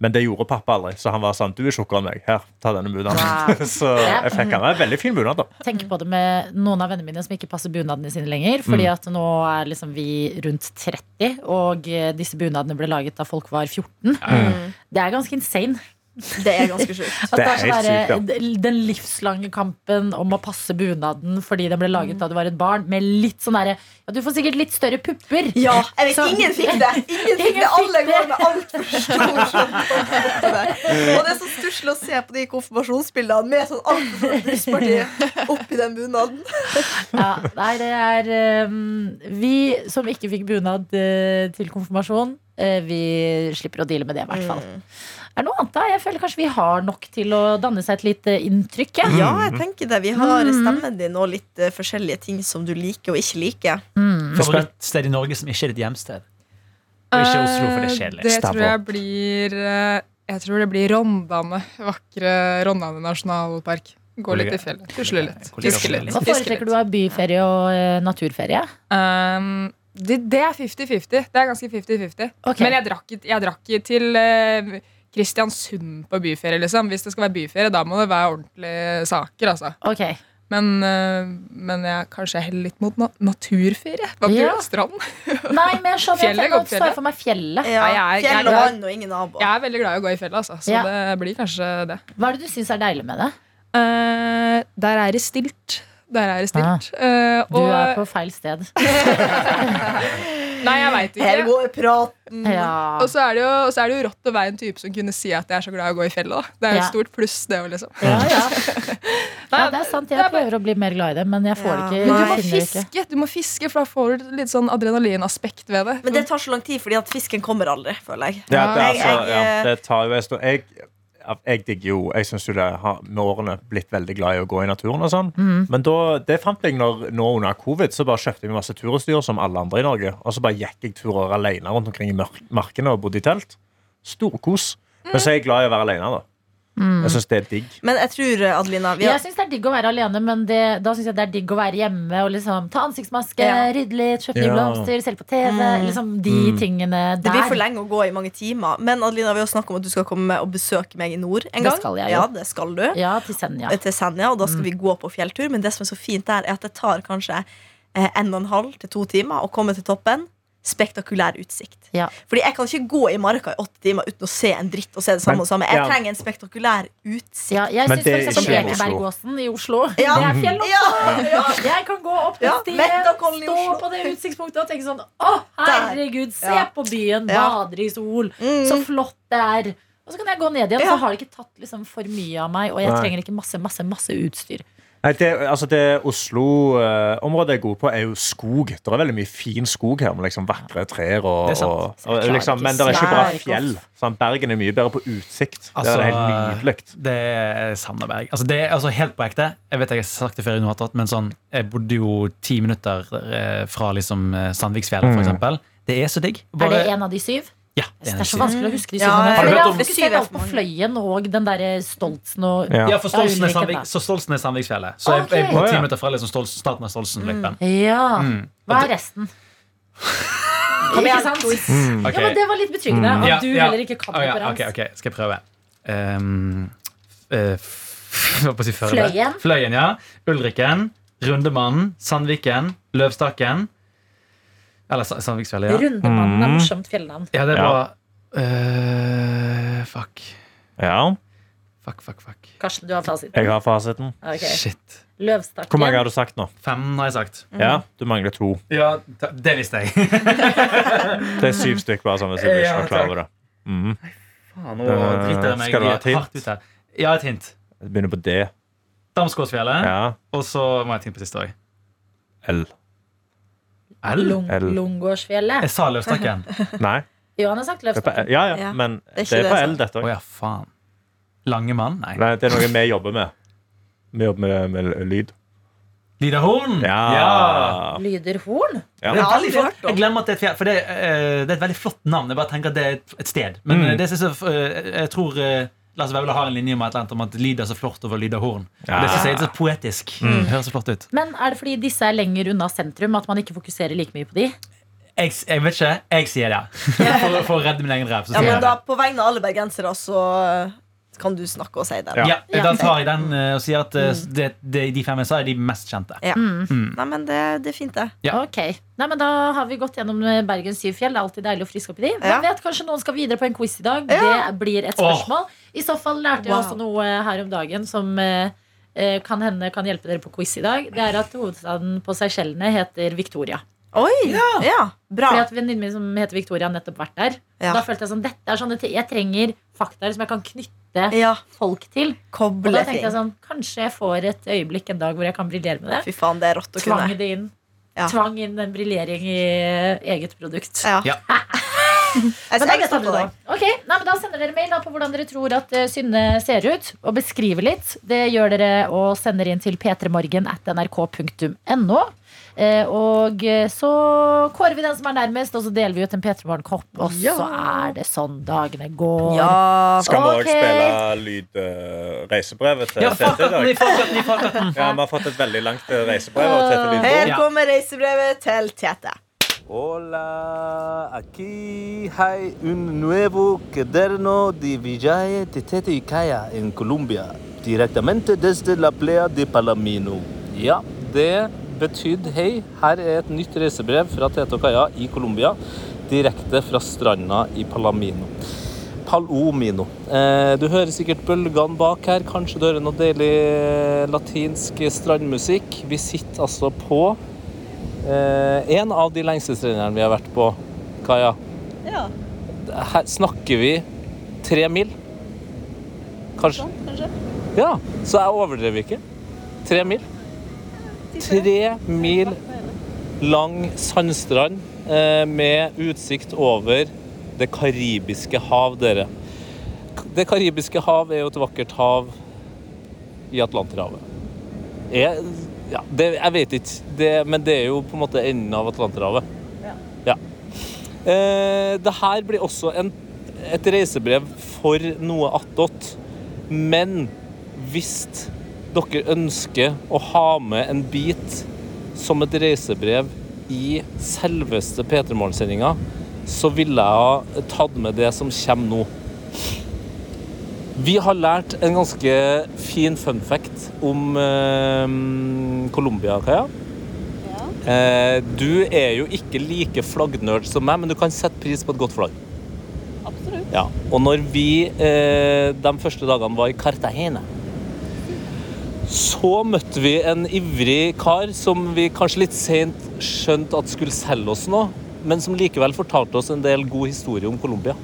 Speaker 3: Men det gjorde pappa aldri, så han var sånn Du er tjukkere enn meg. Her, ta denne bunaden.
Speaker 2: Wow.
Speaker 3: <laughs> så jeg fikk han. Det er en veldig fin bunad, da.
Speaker 2: tenker på det med noen av vennene mine som ikke passer bunadene sine lenger. Fordi at nå er liksom vi rundt 30, og eh, disse bunadene ble laget da folk var 14. Det er ganske insane.
Speaker 4: Det er ganske sjukt.
Speaker 2: At
Speaker 3: Det
Speaker 2: det
Speaker 3: er
Speaker 2: er sånn
Speaker 3: helt
Speaker 2: derre-
Speaker 3: sykt,
Speaker 2: d- Den livslange kampen om å passe bunaden fordi den ble laget da du var et barn, med litt sånn derre ja, Du får sikkert litt større pupper.
Speaker 4: Ja, jeg vet,
Speaker 2: Så-
Speaker 4: Ingen fikk det! Ingen fikk det, Alle
Speaker 2: fikk det.
Speaker 4: går med altfor stor <laughs> sånn på det. Og det er så stusslig å se på de konfirmasjonsbildene med sånn altfor stort brystparti oppi den bunaden.
Speaker 2: Ja, nei, det er ehm, Vi som ikke fikk bunad eh, til konfirmasjon, eh, vi slipper å deale med det, i hvert fall.
Speaker 5: Mm.
Speaker 2: Er det noe annet, da? Jeg føler kanskje vi har nok til å danne seg et lite inntrykk. jeg.
Speaker 4: Ja, jeg tenker det. Vi har stemmen din og litt eh, forskjellige ting som du liker og ikke liker.
Speaker 6: Favorittsted i Norge som ikke er ditt hjemsted? Og ikke Oslo, for det er kjedelig.
Speaker 5: Eh, Det tror jeg
Speaker 3: Stavå.
Speaker 5: blir eh, Jeg tror det blir Rondane. Vakre Rondane nasjonalpark. Gå litt i fjellet. Tusle litt.
Speaker 6: Kollega-
Speaker 5: Fiske litt.
Speaker 2: Hva
Speaker 5: Fiske litt.
Speaker 2: foretrekker du av byferie og eh, naturferie?
Speaker 5: Um, det, det er 50-50. Det er ganske 50-50.
Speaker 2: Ok.
Speaker 5: Men jeg drakk, ikke- jeg drakk ikke til eh, Kristiansund på byferie, liksom. Hvis det skal være byferie, da må det være ordentlige saker, altså.
Speaker 2: Ok,
Speaker 5: Men, eh, men jeg kanskje jeg heller litt mot na naturferie. Hva blir
Speaker 2: Ja.
Speaker 5: det? Strand?
Speaker 2: Nei, men jeg skjønner jeg tenker-
Speaker 5: Fjellet,
Speaker 2: nå
Speaker 5: Gokkfjellet.
Speaker 2: står jeg for meg fjellet.
Speaker 4: Ja,
Speaker 5: Nei, jeg er-
Speaker 4: fjell og
Speaker 5: jeg er-
Speaker 4: vann og ingen nabo.
Speaker 5: Jeg er veldig glad i å gå i fjellet, altså. Så
Speaker 2: Ja.
Speaker 5: det blir kanskje det.
Speaker 2: Hva er det du syns er deilig med det?
Speaker 5: Eh, der er det stilt. Der er det stilt. Eh,
Speaker 2: Ah. Du
Speaker 5: og
Speaker 2: er på feil sted.
Speaker 5: Nei, jeg veit ikke.
Speaker 4: Her går praten.
Speaker 2: Ja.
Speaker 5: Og så er, det jo, og så er det jo rått å være en type som kunne si at jeg er så glad i å gå i fjellet. Da. Det er jo
Speaker 2: Ja.
Speaker 5: et stort pluss, det òg, liksom.
Speaker 2: Ja,
Speaker 5: <laughs>
Speaker 2: ja.
Speaker 5: Nei,
Speaker 2: ja, det er sant. Jeg
Speaker 5: det er bare-
Speaker 2: prøver å bli mer glad i det, men jeg får det ikke.
Speaker 5: Men du
Speaker 4: Nei.
Speaker 5: må
Speaker 2: jeg finner det ikke.
Speaker 5: fiske, du må fiske, for da får du litt sånn adrenalinaspekt ved det.
Speaker 2: Mm.
Speaker 4: Men det tar så lang tid, fordi at fisken kommer aldri, føler jeg.
Speaker 3: Det, er- det, er
Speaker 4: Jeg-
Speaker 3: altså,
Speaker 4: jeg,
Speaker 3: ja,
Speaker 4: eh,
Speaker 3: det tar jo en stund. Jeg, jeg digger jo Jeg syns jo det har med årene blitt veldig glad i å gå i naturen og sånn.
Speaker 4: Mhm.
Speaker 3: Men da, det fant jeg når, nå under covid. Så bare kjøpte jeg meg masse turutstyr som alle andre i Norge. Og så bare gikk jeg turer alene rundt omkring i mørk- markene og bodde i telt. Storkos. Men så er jeg glad i å være alene, da.
Speaker 4: Mhm.
Speaker 3: Jeg syns det er digg.
Speaker 4: Men jeg tror, eh, Adelina vi har,
Speaker 2: Jeg syns det er digg å være alene, men det, da syns jeg det er digg å være hjemme og liksom ta ansiktsmaske,
Speaker 4: Ja.
Speaker 2: rydde litt, kjøpe nye
Speaker 3: Ja.
Speaker 2: blomster, selge på TV.
Speaker 5: Mm.
Speaker 2: Liksom de tingene der.
Speaker 4: Det blir for lenge å gå i mange timer. Men Adelina, vi har snakket om at du skal komme og besøke meg i nord en
Speaker 2: Det
Speaker 4: gang.
Speaker 2: skal jeg jo.
Speaker 4: ja, det skal du. Eh,
Speaker 2: Ja, til Senja.
Speaker 4: Til Senja, og da
Speaker 3: Mm.
Speaker 4: skal vi gå på fjelltur. Men det som er så fint der, er at det tar kanskje eh, en og en halv til to timer å komme til toppen. Spektakulær utsikt.
Speaker 2: Ja.
Speaker 4: Fordi jeg kan ikke gå i marka i åtte timer uten å se en dritt og se det samme
Speaker 3: Men-
Speaker 4: og samme. Jeg
Speaker 3: ja.
Speaker 4: trenger en spektakulær utsikt.
Speaker 2: Ja, jeg
Speaker 3: Men
Speaker 2: syns
Speaker 3: det
Speaker 2: f.eks.
Speaker 3: skjer i Oslo.
Speaker 2: Ekebergåsen i Oslo.
Speaker 4: <laughs> Ja.
Speaker 2: Det er fjell også.
Speaker 4: Ja, ja.
Speaker 2: Jeg kan gå opp den
Speaker 4: Ja,
Speaker 2: stien,
Speaker 4: Metakollen i
Speaker 2: stå
Speaker 4: Oslo.
Speaker 2: på det utsiktspunktet og tenke sånn Å, herregud, se
Speaker 4: Ja.
Speaker 2: på byen,
Speaker 4: Ja.
Speaker 2: bader i sol,
Speaker 4: Mm.
Speaker 2: så flott det er. Og så kan jeg gå ned igjen,
Speaker 4: Ja.
Speaker 2: så har det ikke tatt liksom, for mye av meg, og jeg
Speaker 3: Nei.
Speaker 2: trenger ikke masse, masse, masse utstyr.
Speaker 3: Nei, det, altså det Oslo-området jeg bor på, er jo skog. Det er veldig mye fin skog her, med liksom vakre trær. Og,
Speaker 6: Det er sant.
Speaker 3: og,
Speaker 2: Jeg
Speaker 3: og,
Speaker 2: klarer
Speaker 3: liksom,
Speaker 2: ikke
Speaker 3: men det er ikke bra
Speaker 2: svær-
Speaker 3: fjell. Sant? Bergen er mye bedre på utsikt. det
Speaker 6: Altså,
Speaker 3: er helt nydelig.
Speaker 6: Det er Sandeberg. Altså, det er altså helt på ekte. Jeg vet jeg har sagt det før, i Noe Attåt, men sånn, jeg bodde jo ti minutter eh, fra liksom, eh, Sandviksfjellet, for eksempel. Det er så digg.
Speaker 2: Er det en av de syv?
Speaker 6: Ja, det
Speaker 2: Det
Speaker 6: er
Speaker 2: er så
Speaker 6: en-
Speaker 2: vanskelig å huske de
Speaker 4: Ja,
Speaker 2: syvende.
Speaker 4: ja, ja.
Speaker 6: Har
Speaker 2: Men
Speaker 6: du hørt
Speaker 2: jeg har
Speaker 6: om-
Speaker 2: fokusert alt på
Speaker 4: Syv er for
Speaker 2: Fløyen og den derre Stoltsen og
Speaker 3: Ja.
Speaker 6: Ja, for Stolsen er,
Speaker 2: Ja, Ulriken,
Speaker 6: Sandvik,
Speaker 2: da.
Speaker 6: så Stolsen er Sandviksfjellet. Så jeg,
Speaker 2: Ok. Mm.
Speaker 6: jeg bor
Speaker 3: Å,
Speaker 6: ti
Speaker 3: ja.
Speaker 6: minutter fra liksom, Stolsen, starten av Stolsenløypen.
Speaker 2: Ja.
Speaker 3: Mm.
Speaker 2: Hva er resten? Ikke sant?
Speaker 3: Mm.
Speaker 6: Ok. Mm.
Speaker 2: Ja, men Det var litt betryggende
Speaker 6: Ja,
Speaker 2: at du
Speaker 6: ja.
Speaker 2: heller ikke kan
Speaker 6: Å, ja,
Speaker 2: konkurranse.
Speaker 6: ok, ok, skal jeg prøve. Um, eh, f- <laughs> hva på å si før det?
Speaker 2: Fløyen.
Speaker 6: Fløyen, ja. Ulriken, Rundemannen, Sandviken, Løvstakken. Eller Sa- Sandviksfjellet, ja.
Speaker 2: Rundemannen er morsomt fjellnavn.
Speaker 6: Ja, det er
Speaker 3: Ja.
Speaker 6: bra. Eh, fuck.
Speaker 3: Ja.
Speaker 6: Fuck, fuck, fuck.
Speaker 2: Karsten, du har fasiten.
Speaker 3: Jeg har fasiten.
Speaker 2: Ok.
Speaker 6: Shit.
Speaker 2: Løvstakken.
Speaker 3: Hvor mange har du sagt nå?
Speaker 6: Fem har jeg sagt.
Speaker 3: Ja, Du mangler to.
Speaker 6: Ja, ta- det visste
Speaker 3: <laughs>
Speaker 6: jeg.
Speaker 3: Det er syv stykker bare sånn hvis jeg
Speaker 6: Ja,
Speaker 3: ikke var klar
Speaker 6: takk.
Speaker 3: over det. Mhm.
Speaker 6: Faen, nå driter jeg meg
Speaker 3: Skal du ha et hint?
Speaker 6: hardt ut her. Ja, et hint.
Speaker 3: Det begynner på D.
Speaker 6: Damsgårdsfjellet.
Speaker 3: Ja.
Speaker 6: Og så må jeg et hint på siste òg.
Speaker 3: L.
Speaker 6: L?
Speaker 2: Lung-
Speaker 3: L.
Speaker 2: Lungårdsfjellet.
Speaker 6: Jeg sa Løvstakken.
Speaker 3: Nei.
Speaker 2: Johan har sagt
Speaker 3: Det er på,
Speaker 2: Løvstakken.
Speaker 3: ja, ja,
Speaker 4: Ja.
Speaker 3: men
Speaker 4: er
Speaker 3: det
Speaker 4: ikke
Speaker 3: er
Speaker 4: det altså.
Speaker 3: på
Speaker 4: jeg
Speaker 3: L, dette
Speaker 6: Å
Speaker 3: òg.
Speaker 6: ja, faen. Lange mann? Nei.
Speaker 3: Nei, det er noe vi jobber med. Vi jobber med, med lyd.
Speaker 6: Lida Horn? Ja.
Speaker 3: Ja.
Speaker 2: Lyder horn?
Speaker 3: Ja.
Speaker 6: Det er
Speaker 4: har aldri
Speaker 6: veldig flott.
Speaker 4: hørt om.
Speaker 6: Jeg glemmer at det er et fjell, for det, eh, det er et veldig flott navn. Jeg bare tenker at det er et- et sted. Men
Speaker 3: Mm.
Speaker 6: eh, det synes jeg, eh, jeg tror eh, Lars Vaular har en linje om et eller annet om at lyd er så flott over lyd av horn.
Speaker 3: Ja.
Speaker 6: Og Det synes jeg er så poetisk. Det høres så flott ut.
Speaker 2: Men er det fordi disse er lenger unna sentrum at man ikke fokuserer like mye på de?
Speaker 6: Jeg, s- jeg vet ikke. Jeg sier det. For, for å redde min egen ræv. så
Speaker 4: Ja,
Speaker 6: sier jeg
Speaker 4: men da
Speaker 6: det.
Speaker 4: På vegne av alle bergensere så eh, kan du snakke og si det.
Speaker 3: Ja.
Speaker 6: Ja,
Speaker 2: Ja.
Speaker 6: da tar jeg den eh, og sier at eh, det, det, de fem jeg sa, er de mest kjente.
Speaker 4: Ja. Nei, men det, det er fint, det.
Speaker 6: Ja.
Speaker 2: Ok, Nei, men Da har vi gått gjennom eh, Bergens syv fjell. Det er alltid deilig å friske opp i de.
Speaker 4: Ja.
Speaker 2: Hvem vet, Kanskje noen skal videre på en quiz i dag.
Speaker 4: Ja.
Speaker 2: Det blir et spørsmål. I så fall lærte jeg
Speaker 4: Wow.
Speaker 2: også noe her om dagen som eh, eh, kan hende kan hjelpe dere på quiz i dag. Det er at hovedstaden på Seychellene heter Victoria.
Speaker 4: Oi! Ja, Bra.
Speaker 2: Fordi at Venninnen min som heter Victoria, har nettopp vært der.
Speaker 4: Ja.
Speaker 2: Da følte jeg sånn, dette er sånne ting Jeg trenger faktaer som jeg kan knytte
Speaker 4: Ja,
Speaker 2: folk til. Og
Speaker 4: Koble
Speaker 2: da tenkte
Speaker 4: ting.
Speaker 2: jeg sånn, kanskje jeg får et øyeblikk en dag hvor jeg kan briljere med det.
Speaker 4: Fy faen, det er rått å
Speaker 2: Tvang
Speaker 4: kunne.
Speaker 2: det inn.
Speaker 4: Ja.
Speaker 2: Tvang inn en briljering i eh, eget produkt.
Speaker 4: Ja.
Speaker 6: Ja.
Speaker 4: <laughs> Jeg,
Speaker 2: Men da
Speaker 4: jeg er
Speaker 2: vet
Speaker 4: stolt
Speaker 2: alle
Speaker 4: av
Speaker 2: det.
Speaker 4: deg.
Speaker 2: Ok, nei, men Da sender dere mail da på hvordan dere tror at eh, Synne ser ut, og beskriver litt. Det gjør dere og sender inn til p3morgen at nrk.no. Eh, og eh, så kårer vi den som er nærmest, og så deler vi ut en P3 Morgen-kopp. Og
Speaker 4: Ja.
Speaker 2: så er det sånn dagene går.
Speaker 4: Ja.
Speaker 3: Skal vi
Speaker 2: Ok.
Speaker 3: òg spille lydreisebrevet til
Speaker 6: Ja, fuck
Speaker 3: Tete i
Speaker 6: at
Speaker 3: dag?
Speaker 6: den, fuck at den, fuck at den.
Speaker 3: Ja, Vi har fått et veldig langt eh, reisebrev. av Tete Lidbom.
Speaker 4: Her
Speaker 6: Ja.
Speaker 4: kommer reisebrevet til Tete.
Speaker 9: Hola, aquí hay un nuevo cuaderno de viaje de Tete y Kaya en Colombia, directamente desde la playa de Palamino. Ja, det betydde hei, her er et nytt reisebrev fra Tete og Kaya i Colombia, direkte fra stranda i Palamino. Palomino. Eh, du hører sikkert bølgene bak her. Kanskje du hører noe deilig eh, latinsk strandmusikk. Vi sitter altså på Eh, en av de lengste strendene vi har vært på, Kaja.
Speaker 4: Ja.
Speaker 9: Her snakker vi tre mil. Kanskje. Ja, så jeg overdrev ikke. Tre mil. Tre mil lang sandstrand eh, med utsikt over Det karibiske hav, dere. Det karibiske hav er jo et vakkert hav i Atlanterhavet. Jeg, ja, det, jeg vet ikke, det, men det er jo på en måte enden av Atlanterhavet. Ja. Eh, det her blir også en, et reisebrev for noe attåt. Men hvis dere ønsker å ha med en bit som et reisebrev i selveste P3 Morgen-sendinga, så ville jeg ha tatt med det som kommer nå. Vi har lært en ganske fin fun fact om eh, Colombia, Kaja. Eh, du er jo ikke like flaggnerd som meg, men du kan sette pris på et godt flagg. Absolutt. Ja. Og når vi eh, de første dagene var i Cartagena, så møtte vi en ivrig kar som vi kanskje litt sent skjønte at skulle selge oss noe, men som likevel fortalte oss en del god historie om Colombia.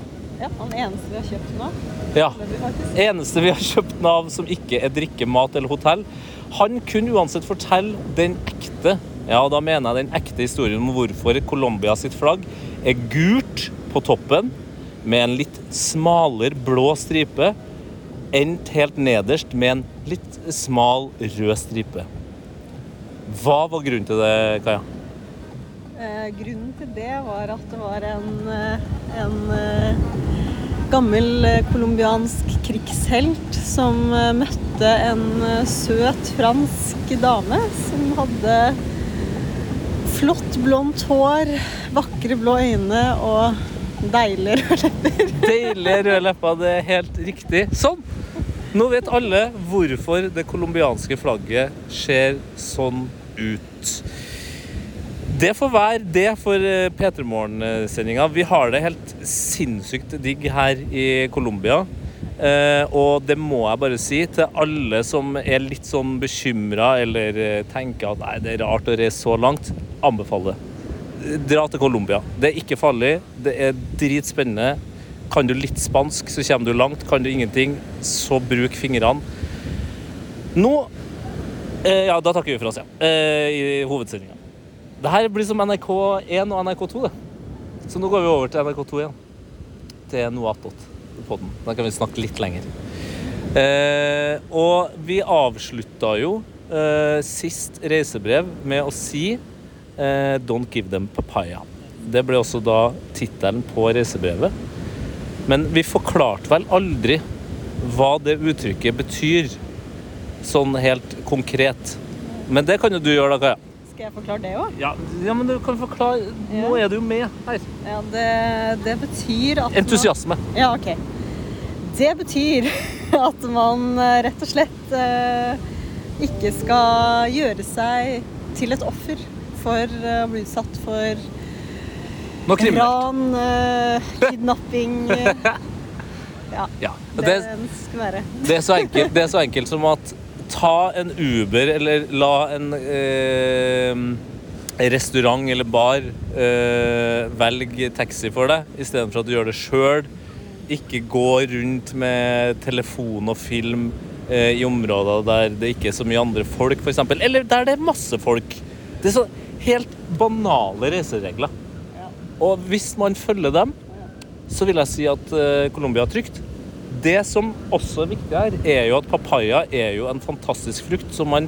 Speaker 9: Ja. Eneste vi har kjøpt Nav som ikke er drikke, mat eller hotell. Han kunne uansett fortelle den ekte, ja da mener jeg den ekte historien om hvorfor Colombia sitt flagg er gult på toppen med en litt smalere blå stripe, endt helt nederst med en litt smal rød stripe. Hva var grunnen til det, Kaja?
Speaker 10: Eh, grunnen til det var at det var en, eh, en eh, gammel eh, colombiansk krigshelt som eh, møtte en eh, søt fransk dame som hadde flott blondt hår, vakre blå øyne og deilig rød leppe.
Speaker 9: Deilige røde lepper, det er helt riktig. Sånn! Nå vet alle hvorfor det colombianske flagget ser sånn ut. Det får være det for eh, P3 Morgen-sendinga. Vi har det helt sinnssykt digg her i Colombia. Eh, og det må jeg bare si til alle som er litt sånn bekymra eller eh, tenker at nei, det er rart å reise så langt. Anbefaler det. Dra til Colombia. Det er ikke farlig. Det er dritspennende. Kan du litt spansk, så kommer du langt. Kan du ingenting, så bruk fingrene. Nå eh, Ja, da takker vi for oss, ja. Eh, I hovedsendinga. Det her blir som NRK1 og NRK2, det. Så nå går vi over til NRK2 igjen. Til noe attåt podden. Da kan vi snakke litt lenger. Eh, og vi avslutta jo eh, sist reisebrev med å si eh, 'Don't give them papaya'. Det ble også da tittelen på reisebrevet. Men vi forklarte vel aldri hva det uttrykket betyr, sånn helt konkret. Men det kan jo du gjøre, da, Kaja.
Speaker 10: Skal jeg forklare det òg?
Speaker 9: Ja, ja, men du kan forklare. Nå er du jo med her.
Speaker 10: Ja, det, det betyr at man-
Speaker 9: Entusiasme.
Speaker 10: Ja, ok. Det betyr <laughs> at man eh, rett og slett eh, ikke skal gjøre seg til et offer for eh, å bli utsatt for
Speaker 9: Noe kriminelt.
Speaker 10: ran,
Speaker 9: <laughs>
Speaker 10: eh, kidnapping eh, Ja.
Speaker 9: Ja.
Speaker 10: Det,
Speaker 9: Det,
Speaker 10: skal være.
Speaker 9: Det er så enkelt, det er så enkelt som at ta en Uber eller la en eh, restaurant eller bar eh, velge taxi for deg, istedenfor at du gjør det sjøl. Ikke gå rundt med telefon og film eh, i områder der det ikke er så mye andre folk, f.eks. Eller der det er masse folk. Det er så helt banale reiseregler. Og hvis man følger dem, så vil jeg si at eh, Colombia er trygt. Det som også er viktig her, er jo at papaya er jo en fantastisk frukt som man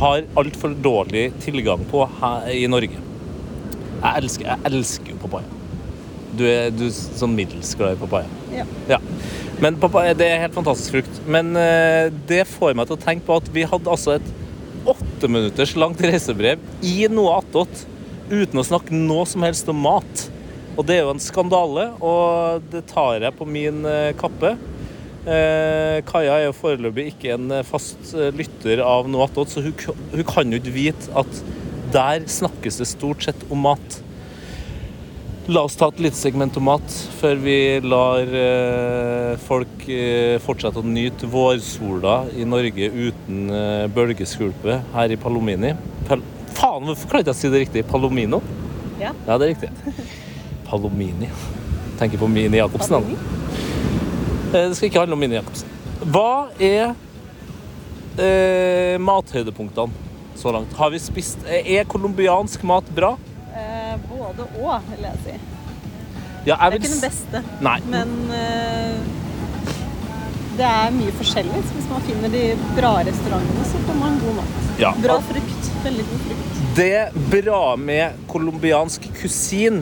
Speaker 9: har altfor dårlig tilgang på her i Norge. Jeg elsker, jeg elsker jo papaya. Du er, du er sånn middels glad i papaya.
Speaker 10: Ja.
Speaker 9: Men papaya, det er helt fantastisk frukt. Men eh, det får meg til å tenke på at vi hadde altså et åtte minutters langt reisebrev i noe attåt uten å snakke noe som helst om mat. Og det er jo en skandale, og det tar jeg på min eh, kappe. Eh, Kaja er jo foreløpig ikke en eh, fast eh, lytter av noe attåt, så hun, k- hun kan jo ikke vite at der snakkes det stort sett om mat. La oss ta et lite segment om mat før vi lar eh, folk eh, fortsette å nyte vårsola i Norge uten eh, bølgeskulpe her i Palomini. Pal Faen, hvorfor klarte jeg å si det riktig? Palomino?
Speaker 10: Ja.
Speaker 9: Ja, det er
Speaker 10: <laughs>
Speaker 9: riktig. Palomini. Tenker på Mini Jacobsen, da. Eh, Det skal ikke handle om Mini Jacobsen. Hva er eh, mathøydepunktene så langt? Har vi spist eh, Er colombiansk mat bra?
Speaker 10: Eh, både og, vil jeg si. Det
Speaker 9: Ja,
Speaker 10: er
Speaker 9: jeg
Speaker 10: ikke
Speaker 9: vil
Speaker 10: den
Speaker 9: s-
Speaker 10: beste,
Speaker 9: Nei.
Speaker 10: men eh, det er mye forskjellig. Så hvis man finner de bra restaurantene, så får man god mat.
Speaker 9: Ja.
Speaker 10: Bra frukt. Veldig god frukt.
Speaker 9: Det bra med colombiansk kusin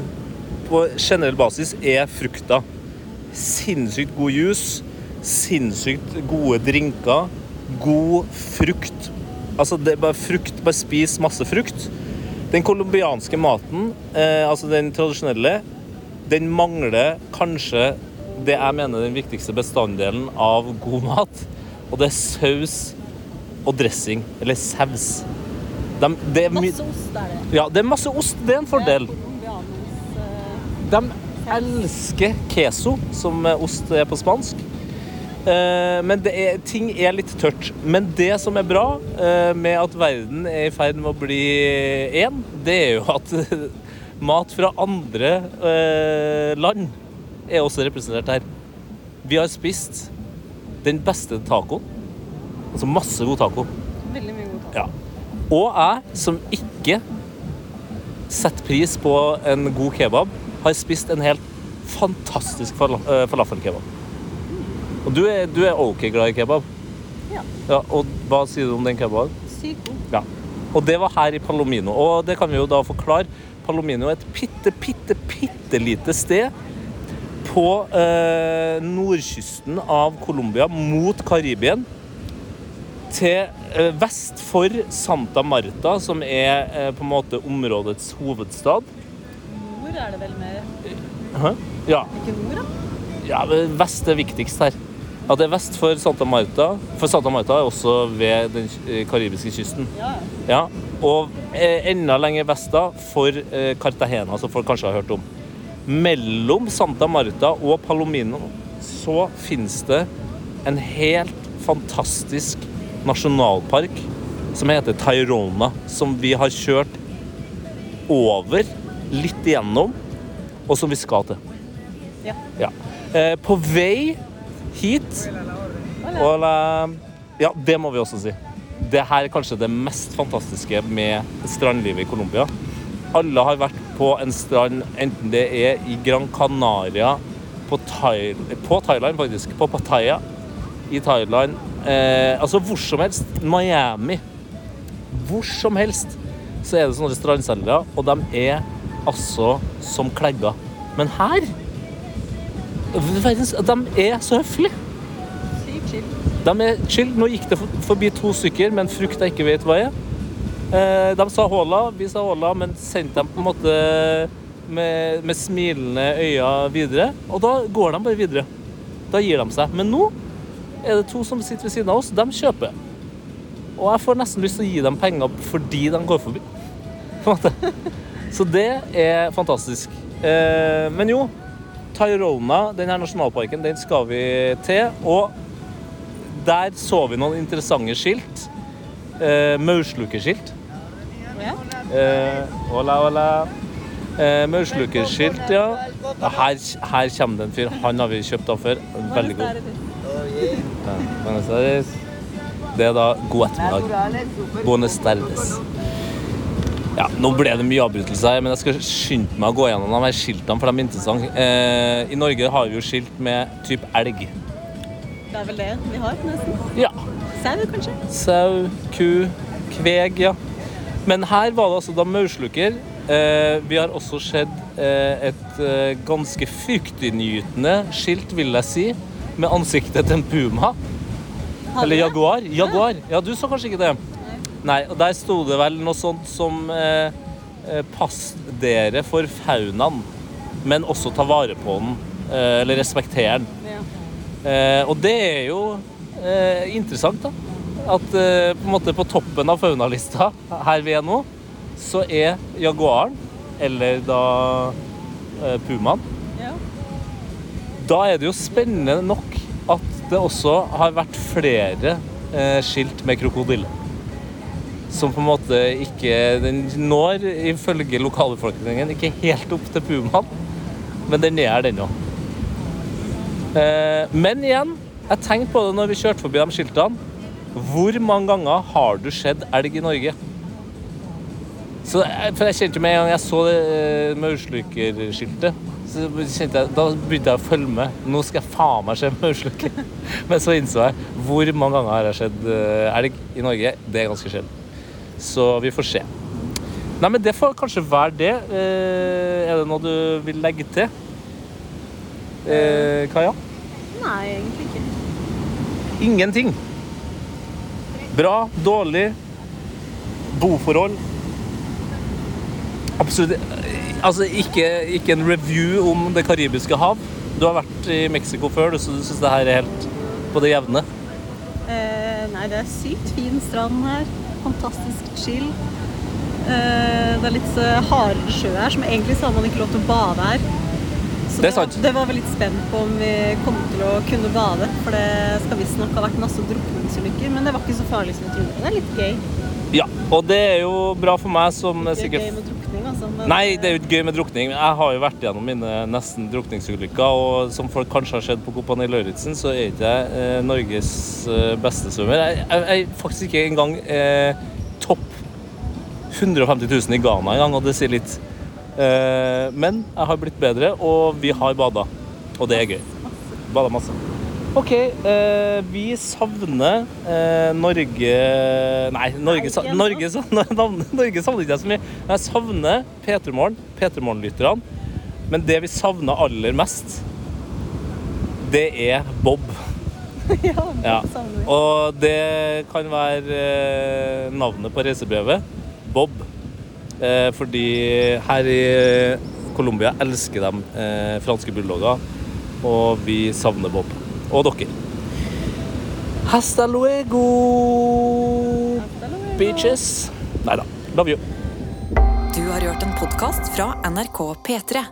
Speaker 9: på generell basis er frukta. Sinnssykt god juice, sinnssykt gode drinker, god frukt. Altså, det er bare frukt. Bare spis masse frukt. Den colombianske maten, eh, altså den tradisjonelle, den mangler kanskje det jeg mener er den viktigste bestanddelen av god mat, og det er saus og dressing, eller saus. Dem- det er my-
Speaker 10: Masse ost er det.
Speaker 9: ja, det er masse ost. Det er en fordel.
Speaker 10: Det er colombianos, eh,
Speaker 9: De elsker queso, som ost er på spansk. Eh, Men det er, ting er litt tørt. Men det som er bra eh, med at verden er i ferd med å bli én, det er jo at <laughs> mat fra andre eh, land er også representert her. Vi har spist den beste tacoen. Altså masse god taco.
Speaker 10: Veldig mye god mat.
Speaker 9: Ja. Og jeg, som ikke setter pris på en god kebab, har spist en helt fantastisk fala- eh, falafelkebab. Og du er, du er ok glad i kebab?
Speaker 10: Ja.
Speaker 9: Og hva sier du om den kebaben?
Speaker 10: Sykt god.
Speaker 9: Ja. Og det var her i Palomino. Og det kan vi jo da forklare. Palomino er et bitte, bitte, bitte lite sted på eh, nordkysten av Colombia mot Karibien. Til eh, vest for Santa Marta, som er eh, på en måte områdets hovedstad.
Speaker 10: Nord er det vel mer.
Speaker 9: Hæ? Ja.
Speaker 10: Ikke nord, da?
Speaker 9: Ja, men vest er viktigst her. Ja, det er vest for Santa Marta. For Santa Marta er også ved den eh, karibiske kysten.
Speaker 10: Ja.
Speaker 9: Ja, og eh, enda lenger vest da for eh, Cartagena, som folk kanskje har hørt om. Mellom Santa Marta og Palomino så finnes det en helt fantastisk nasjonalpark som heter Tairona, som vi har kjørt over, litt igjennom, og som vi skal til.
Speaker 10: Ja.
Speaker 9: Eh, på vei hit Hola. Ja, det må vi også si. Det her er kanskje det mest fantastiske med strandlivet i Colombia. Alle har vært på en strand, enten det er i Gran Canaria, på, Thai, på Thailand faktisk, på Pattaya i Thailand, eh, altså hvor som helst, Miami, hvor som helst, så er det sånne strandselgere, og de er altså som klegger. Men her, verdens, de er så høflige. De er chill. Nå gikk det for- forbi to stykker med en frukt jeg ikke vet hva er. Eh, De sa håla, vi sa håla, men sendte dem på en måte med, med smilende øyne videre. Og da går de bare videre. Da gir de seg. Men nå er det to som sitter ved siden av oss. De kjøper. Og jeg får nesten lyst til å gi dem penger fordi de går forbi. På en måte. Så det er fantastisk. Eh, Men jo, Tairona, den her nasjonalparken, den skal vi til. Og der så vi noen interessante skilt. Eh, Maurslukerskilt. Eh, hola, hola. Eh, Maurslukerskilt, ja. Ja, Her, her kommer det en fyr. Han har vi kjøpt av før. Veldig god. Ja, altså, Buenos Aires. Det er da god ettermiddag. Buenos Aires. Ja, nå ble det mye avbrytelse her, men jeg skal skynde meg å gå gjennom de her skiltene, for de er interessante. Eh, I Norge har vi jo skilt med typ elg.
Speaker 10: Det er vel det vi har, nesten.
Speaker 9: Ja.
Speaker 10: Sau, kanskje?
Speaker 9: Sau, ku, kveg, ja. Men her var det altså da maursluker. Eh, vi har også sett eh, et eh, ganske fryktinngytende skilt, vil jeg si, med ansiktet til en puma.
Speaker 10: Har
Speaker 9: Eller
Speaker 10: vi det?
Speaker 9: jaguar. Jaguar. Ja, du så kanskje ikke det. Nei, og der sto det vel noe sånt som eh, eh, Pass dere for faunaen, men også ta vare på den. Eh, eller respektere den.
Speaker 10: Ja.
Speaker 9: Eh, og det er jo eh, interessant, da. At eh, på, en måte på toppen av faunalista her vi er nå, så er jaguaren, eller da eh, pumaen
Speaker 10: Ja.
Speaker 9: Da er det jo spennende nok at det også har vært flere eh, skilt med krokodille. Som på en måte ikke Den når ifølge lokalbefolkningen ikke helt opp til pumaen, men den er her, den òg. Eh, Men igjen, jeg tenkte på det når vi kjørte forbi de skiltene. Hvor mange ganger har du sett elg i Norge? Så, jeg- for jeg kjente jo med en gang jeg så det eh, maurslukerskiltet, så kjente jeg, da begynte jeg å følge med. Nå skal jeg faen meg se maursluker. <laughs> Men så innså jeg hvor mange ganger har jeg sett eh, elg i Norge. Det er ganske sjelden. Så vi får se. Nei, men det får kanskje være det. Eh, Er det noe du vil legge til? Eh, Kaja?
Speaker 10: Nei, egentlig ikke.
Speaker 9: Ingenting. Bra, dårlig, boforhold. Absolutt Altså, ikke, ikke en review om Det karibiske hav. Du har vært i Mexico før, så du syns det her er helt på det jevne.
Speaker 10: Eh, nei, det er sykt fin strand her. Fantastisk chill. Eh, det er litt eh, hardere sjø her, som egentlig så har man ikke lov til å bade her. Så
Speaker 9: Det er sant.
Speaker 10: Var, det var vi litt spent på om vi kom til å kunne bade, for det skal visstnok ha vært masse drukningsulykker, men det var ikke så farlig som vi trodde. Det er litt gøy.
Speaker 9: Ja, og det er jo bra for meg som
Speaker 10: Det er
Speaker 9: sikkert
Speaker 10: gøy med drukning, altså. Men,
Speaker 9: Nei, det er jo ikke gøy med drukning. Jeg har jo vært gjennom mine nesten drukningsulykker, og som folk kanskje har sett på Kompani Lauritzen, så er ikke jeg eh, Norges eh, beste svømmer. Jeg, jeg, jeg er faktisk ikke engang eh, topp 150 000 i Ghana engang, og det sier litt. Eh, men jeg har blitt bedre, og vi har bada. Og det er gøy. Bada masse. OK, eh, vi savner eh, Norge Nei, Norge, sa-
Speaker 10: Nei,
Speaker 9: Norge, sa- <laughs> navn- Norge savner ikke jeg så mye. Men jeg savner P3morgen, P3morgen-lytterne. Men det vi savner aller mest, det er Bob.
Speaker 10: <laughs> ja,
Speaker 9: Ja.
Speaker 10: det savner vi.
Speaker 9: Og det kan være eh, navnet på reisebrevet. Bob. Eh, fordi her i Colombia elsker de eh, franske bulldogger, og vi savner Bob. Og dere. Hasta luego, bitches. Nei da. Love you.
Speaker 1: Du har hørt en podkast fra NRK P3.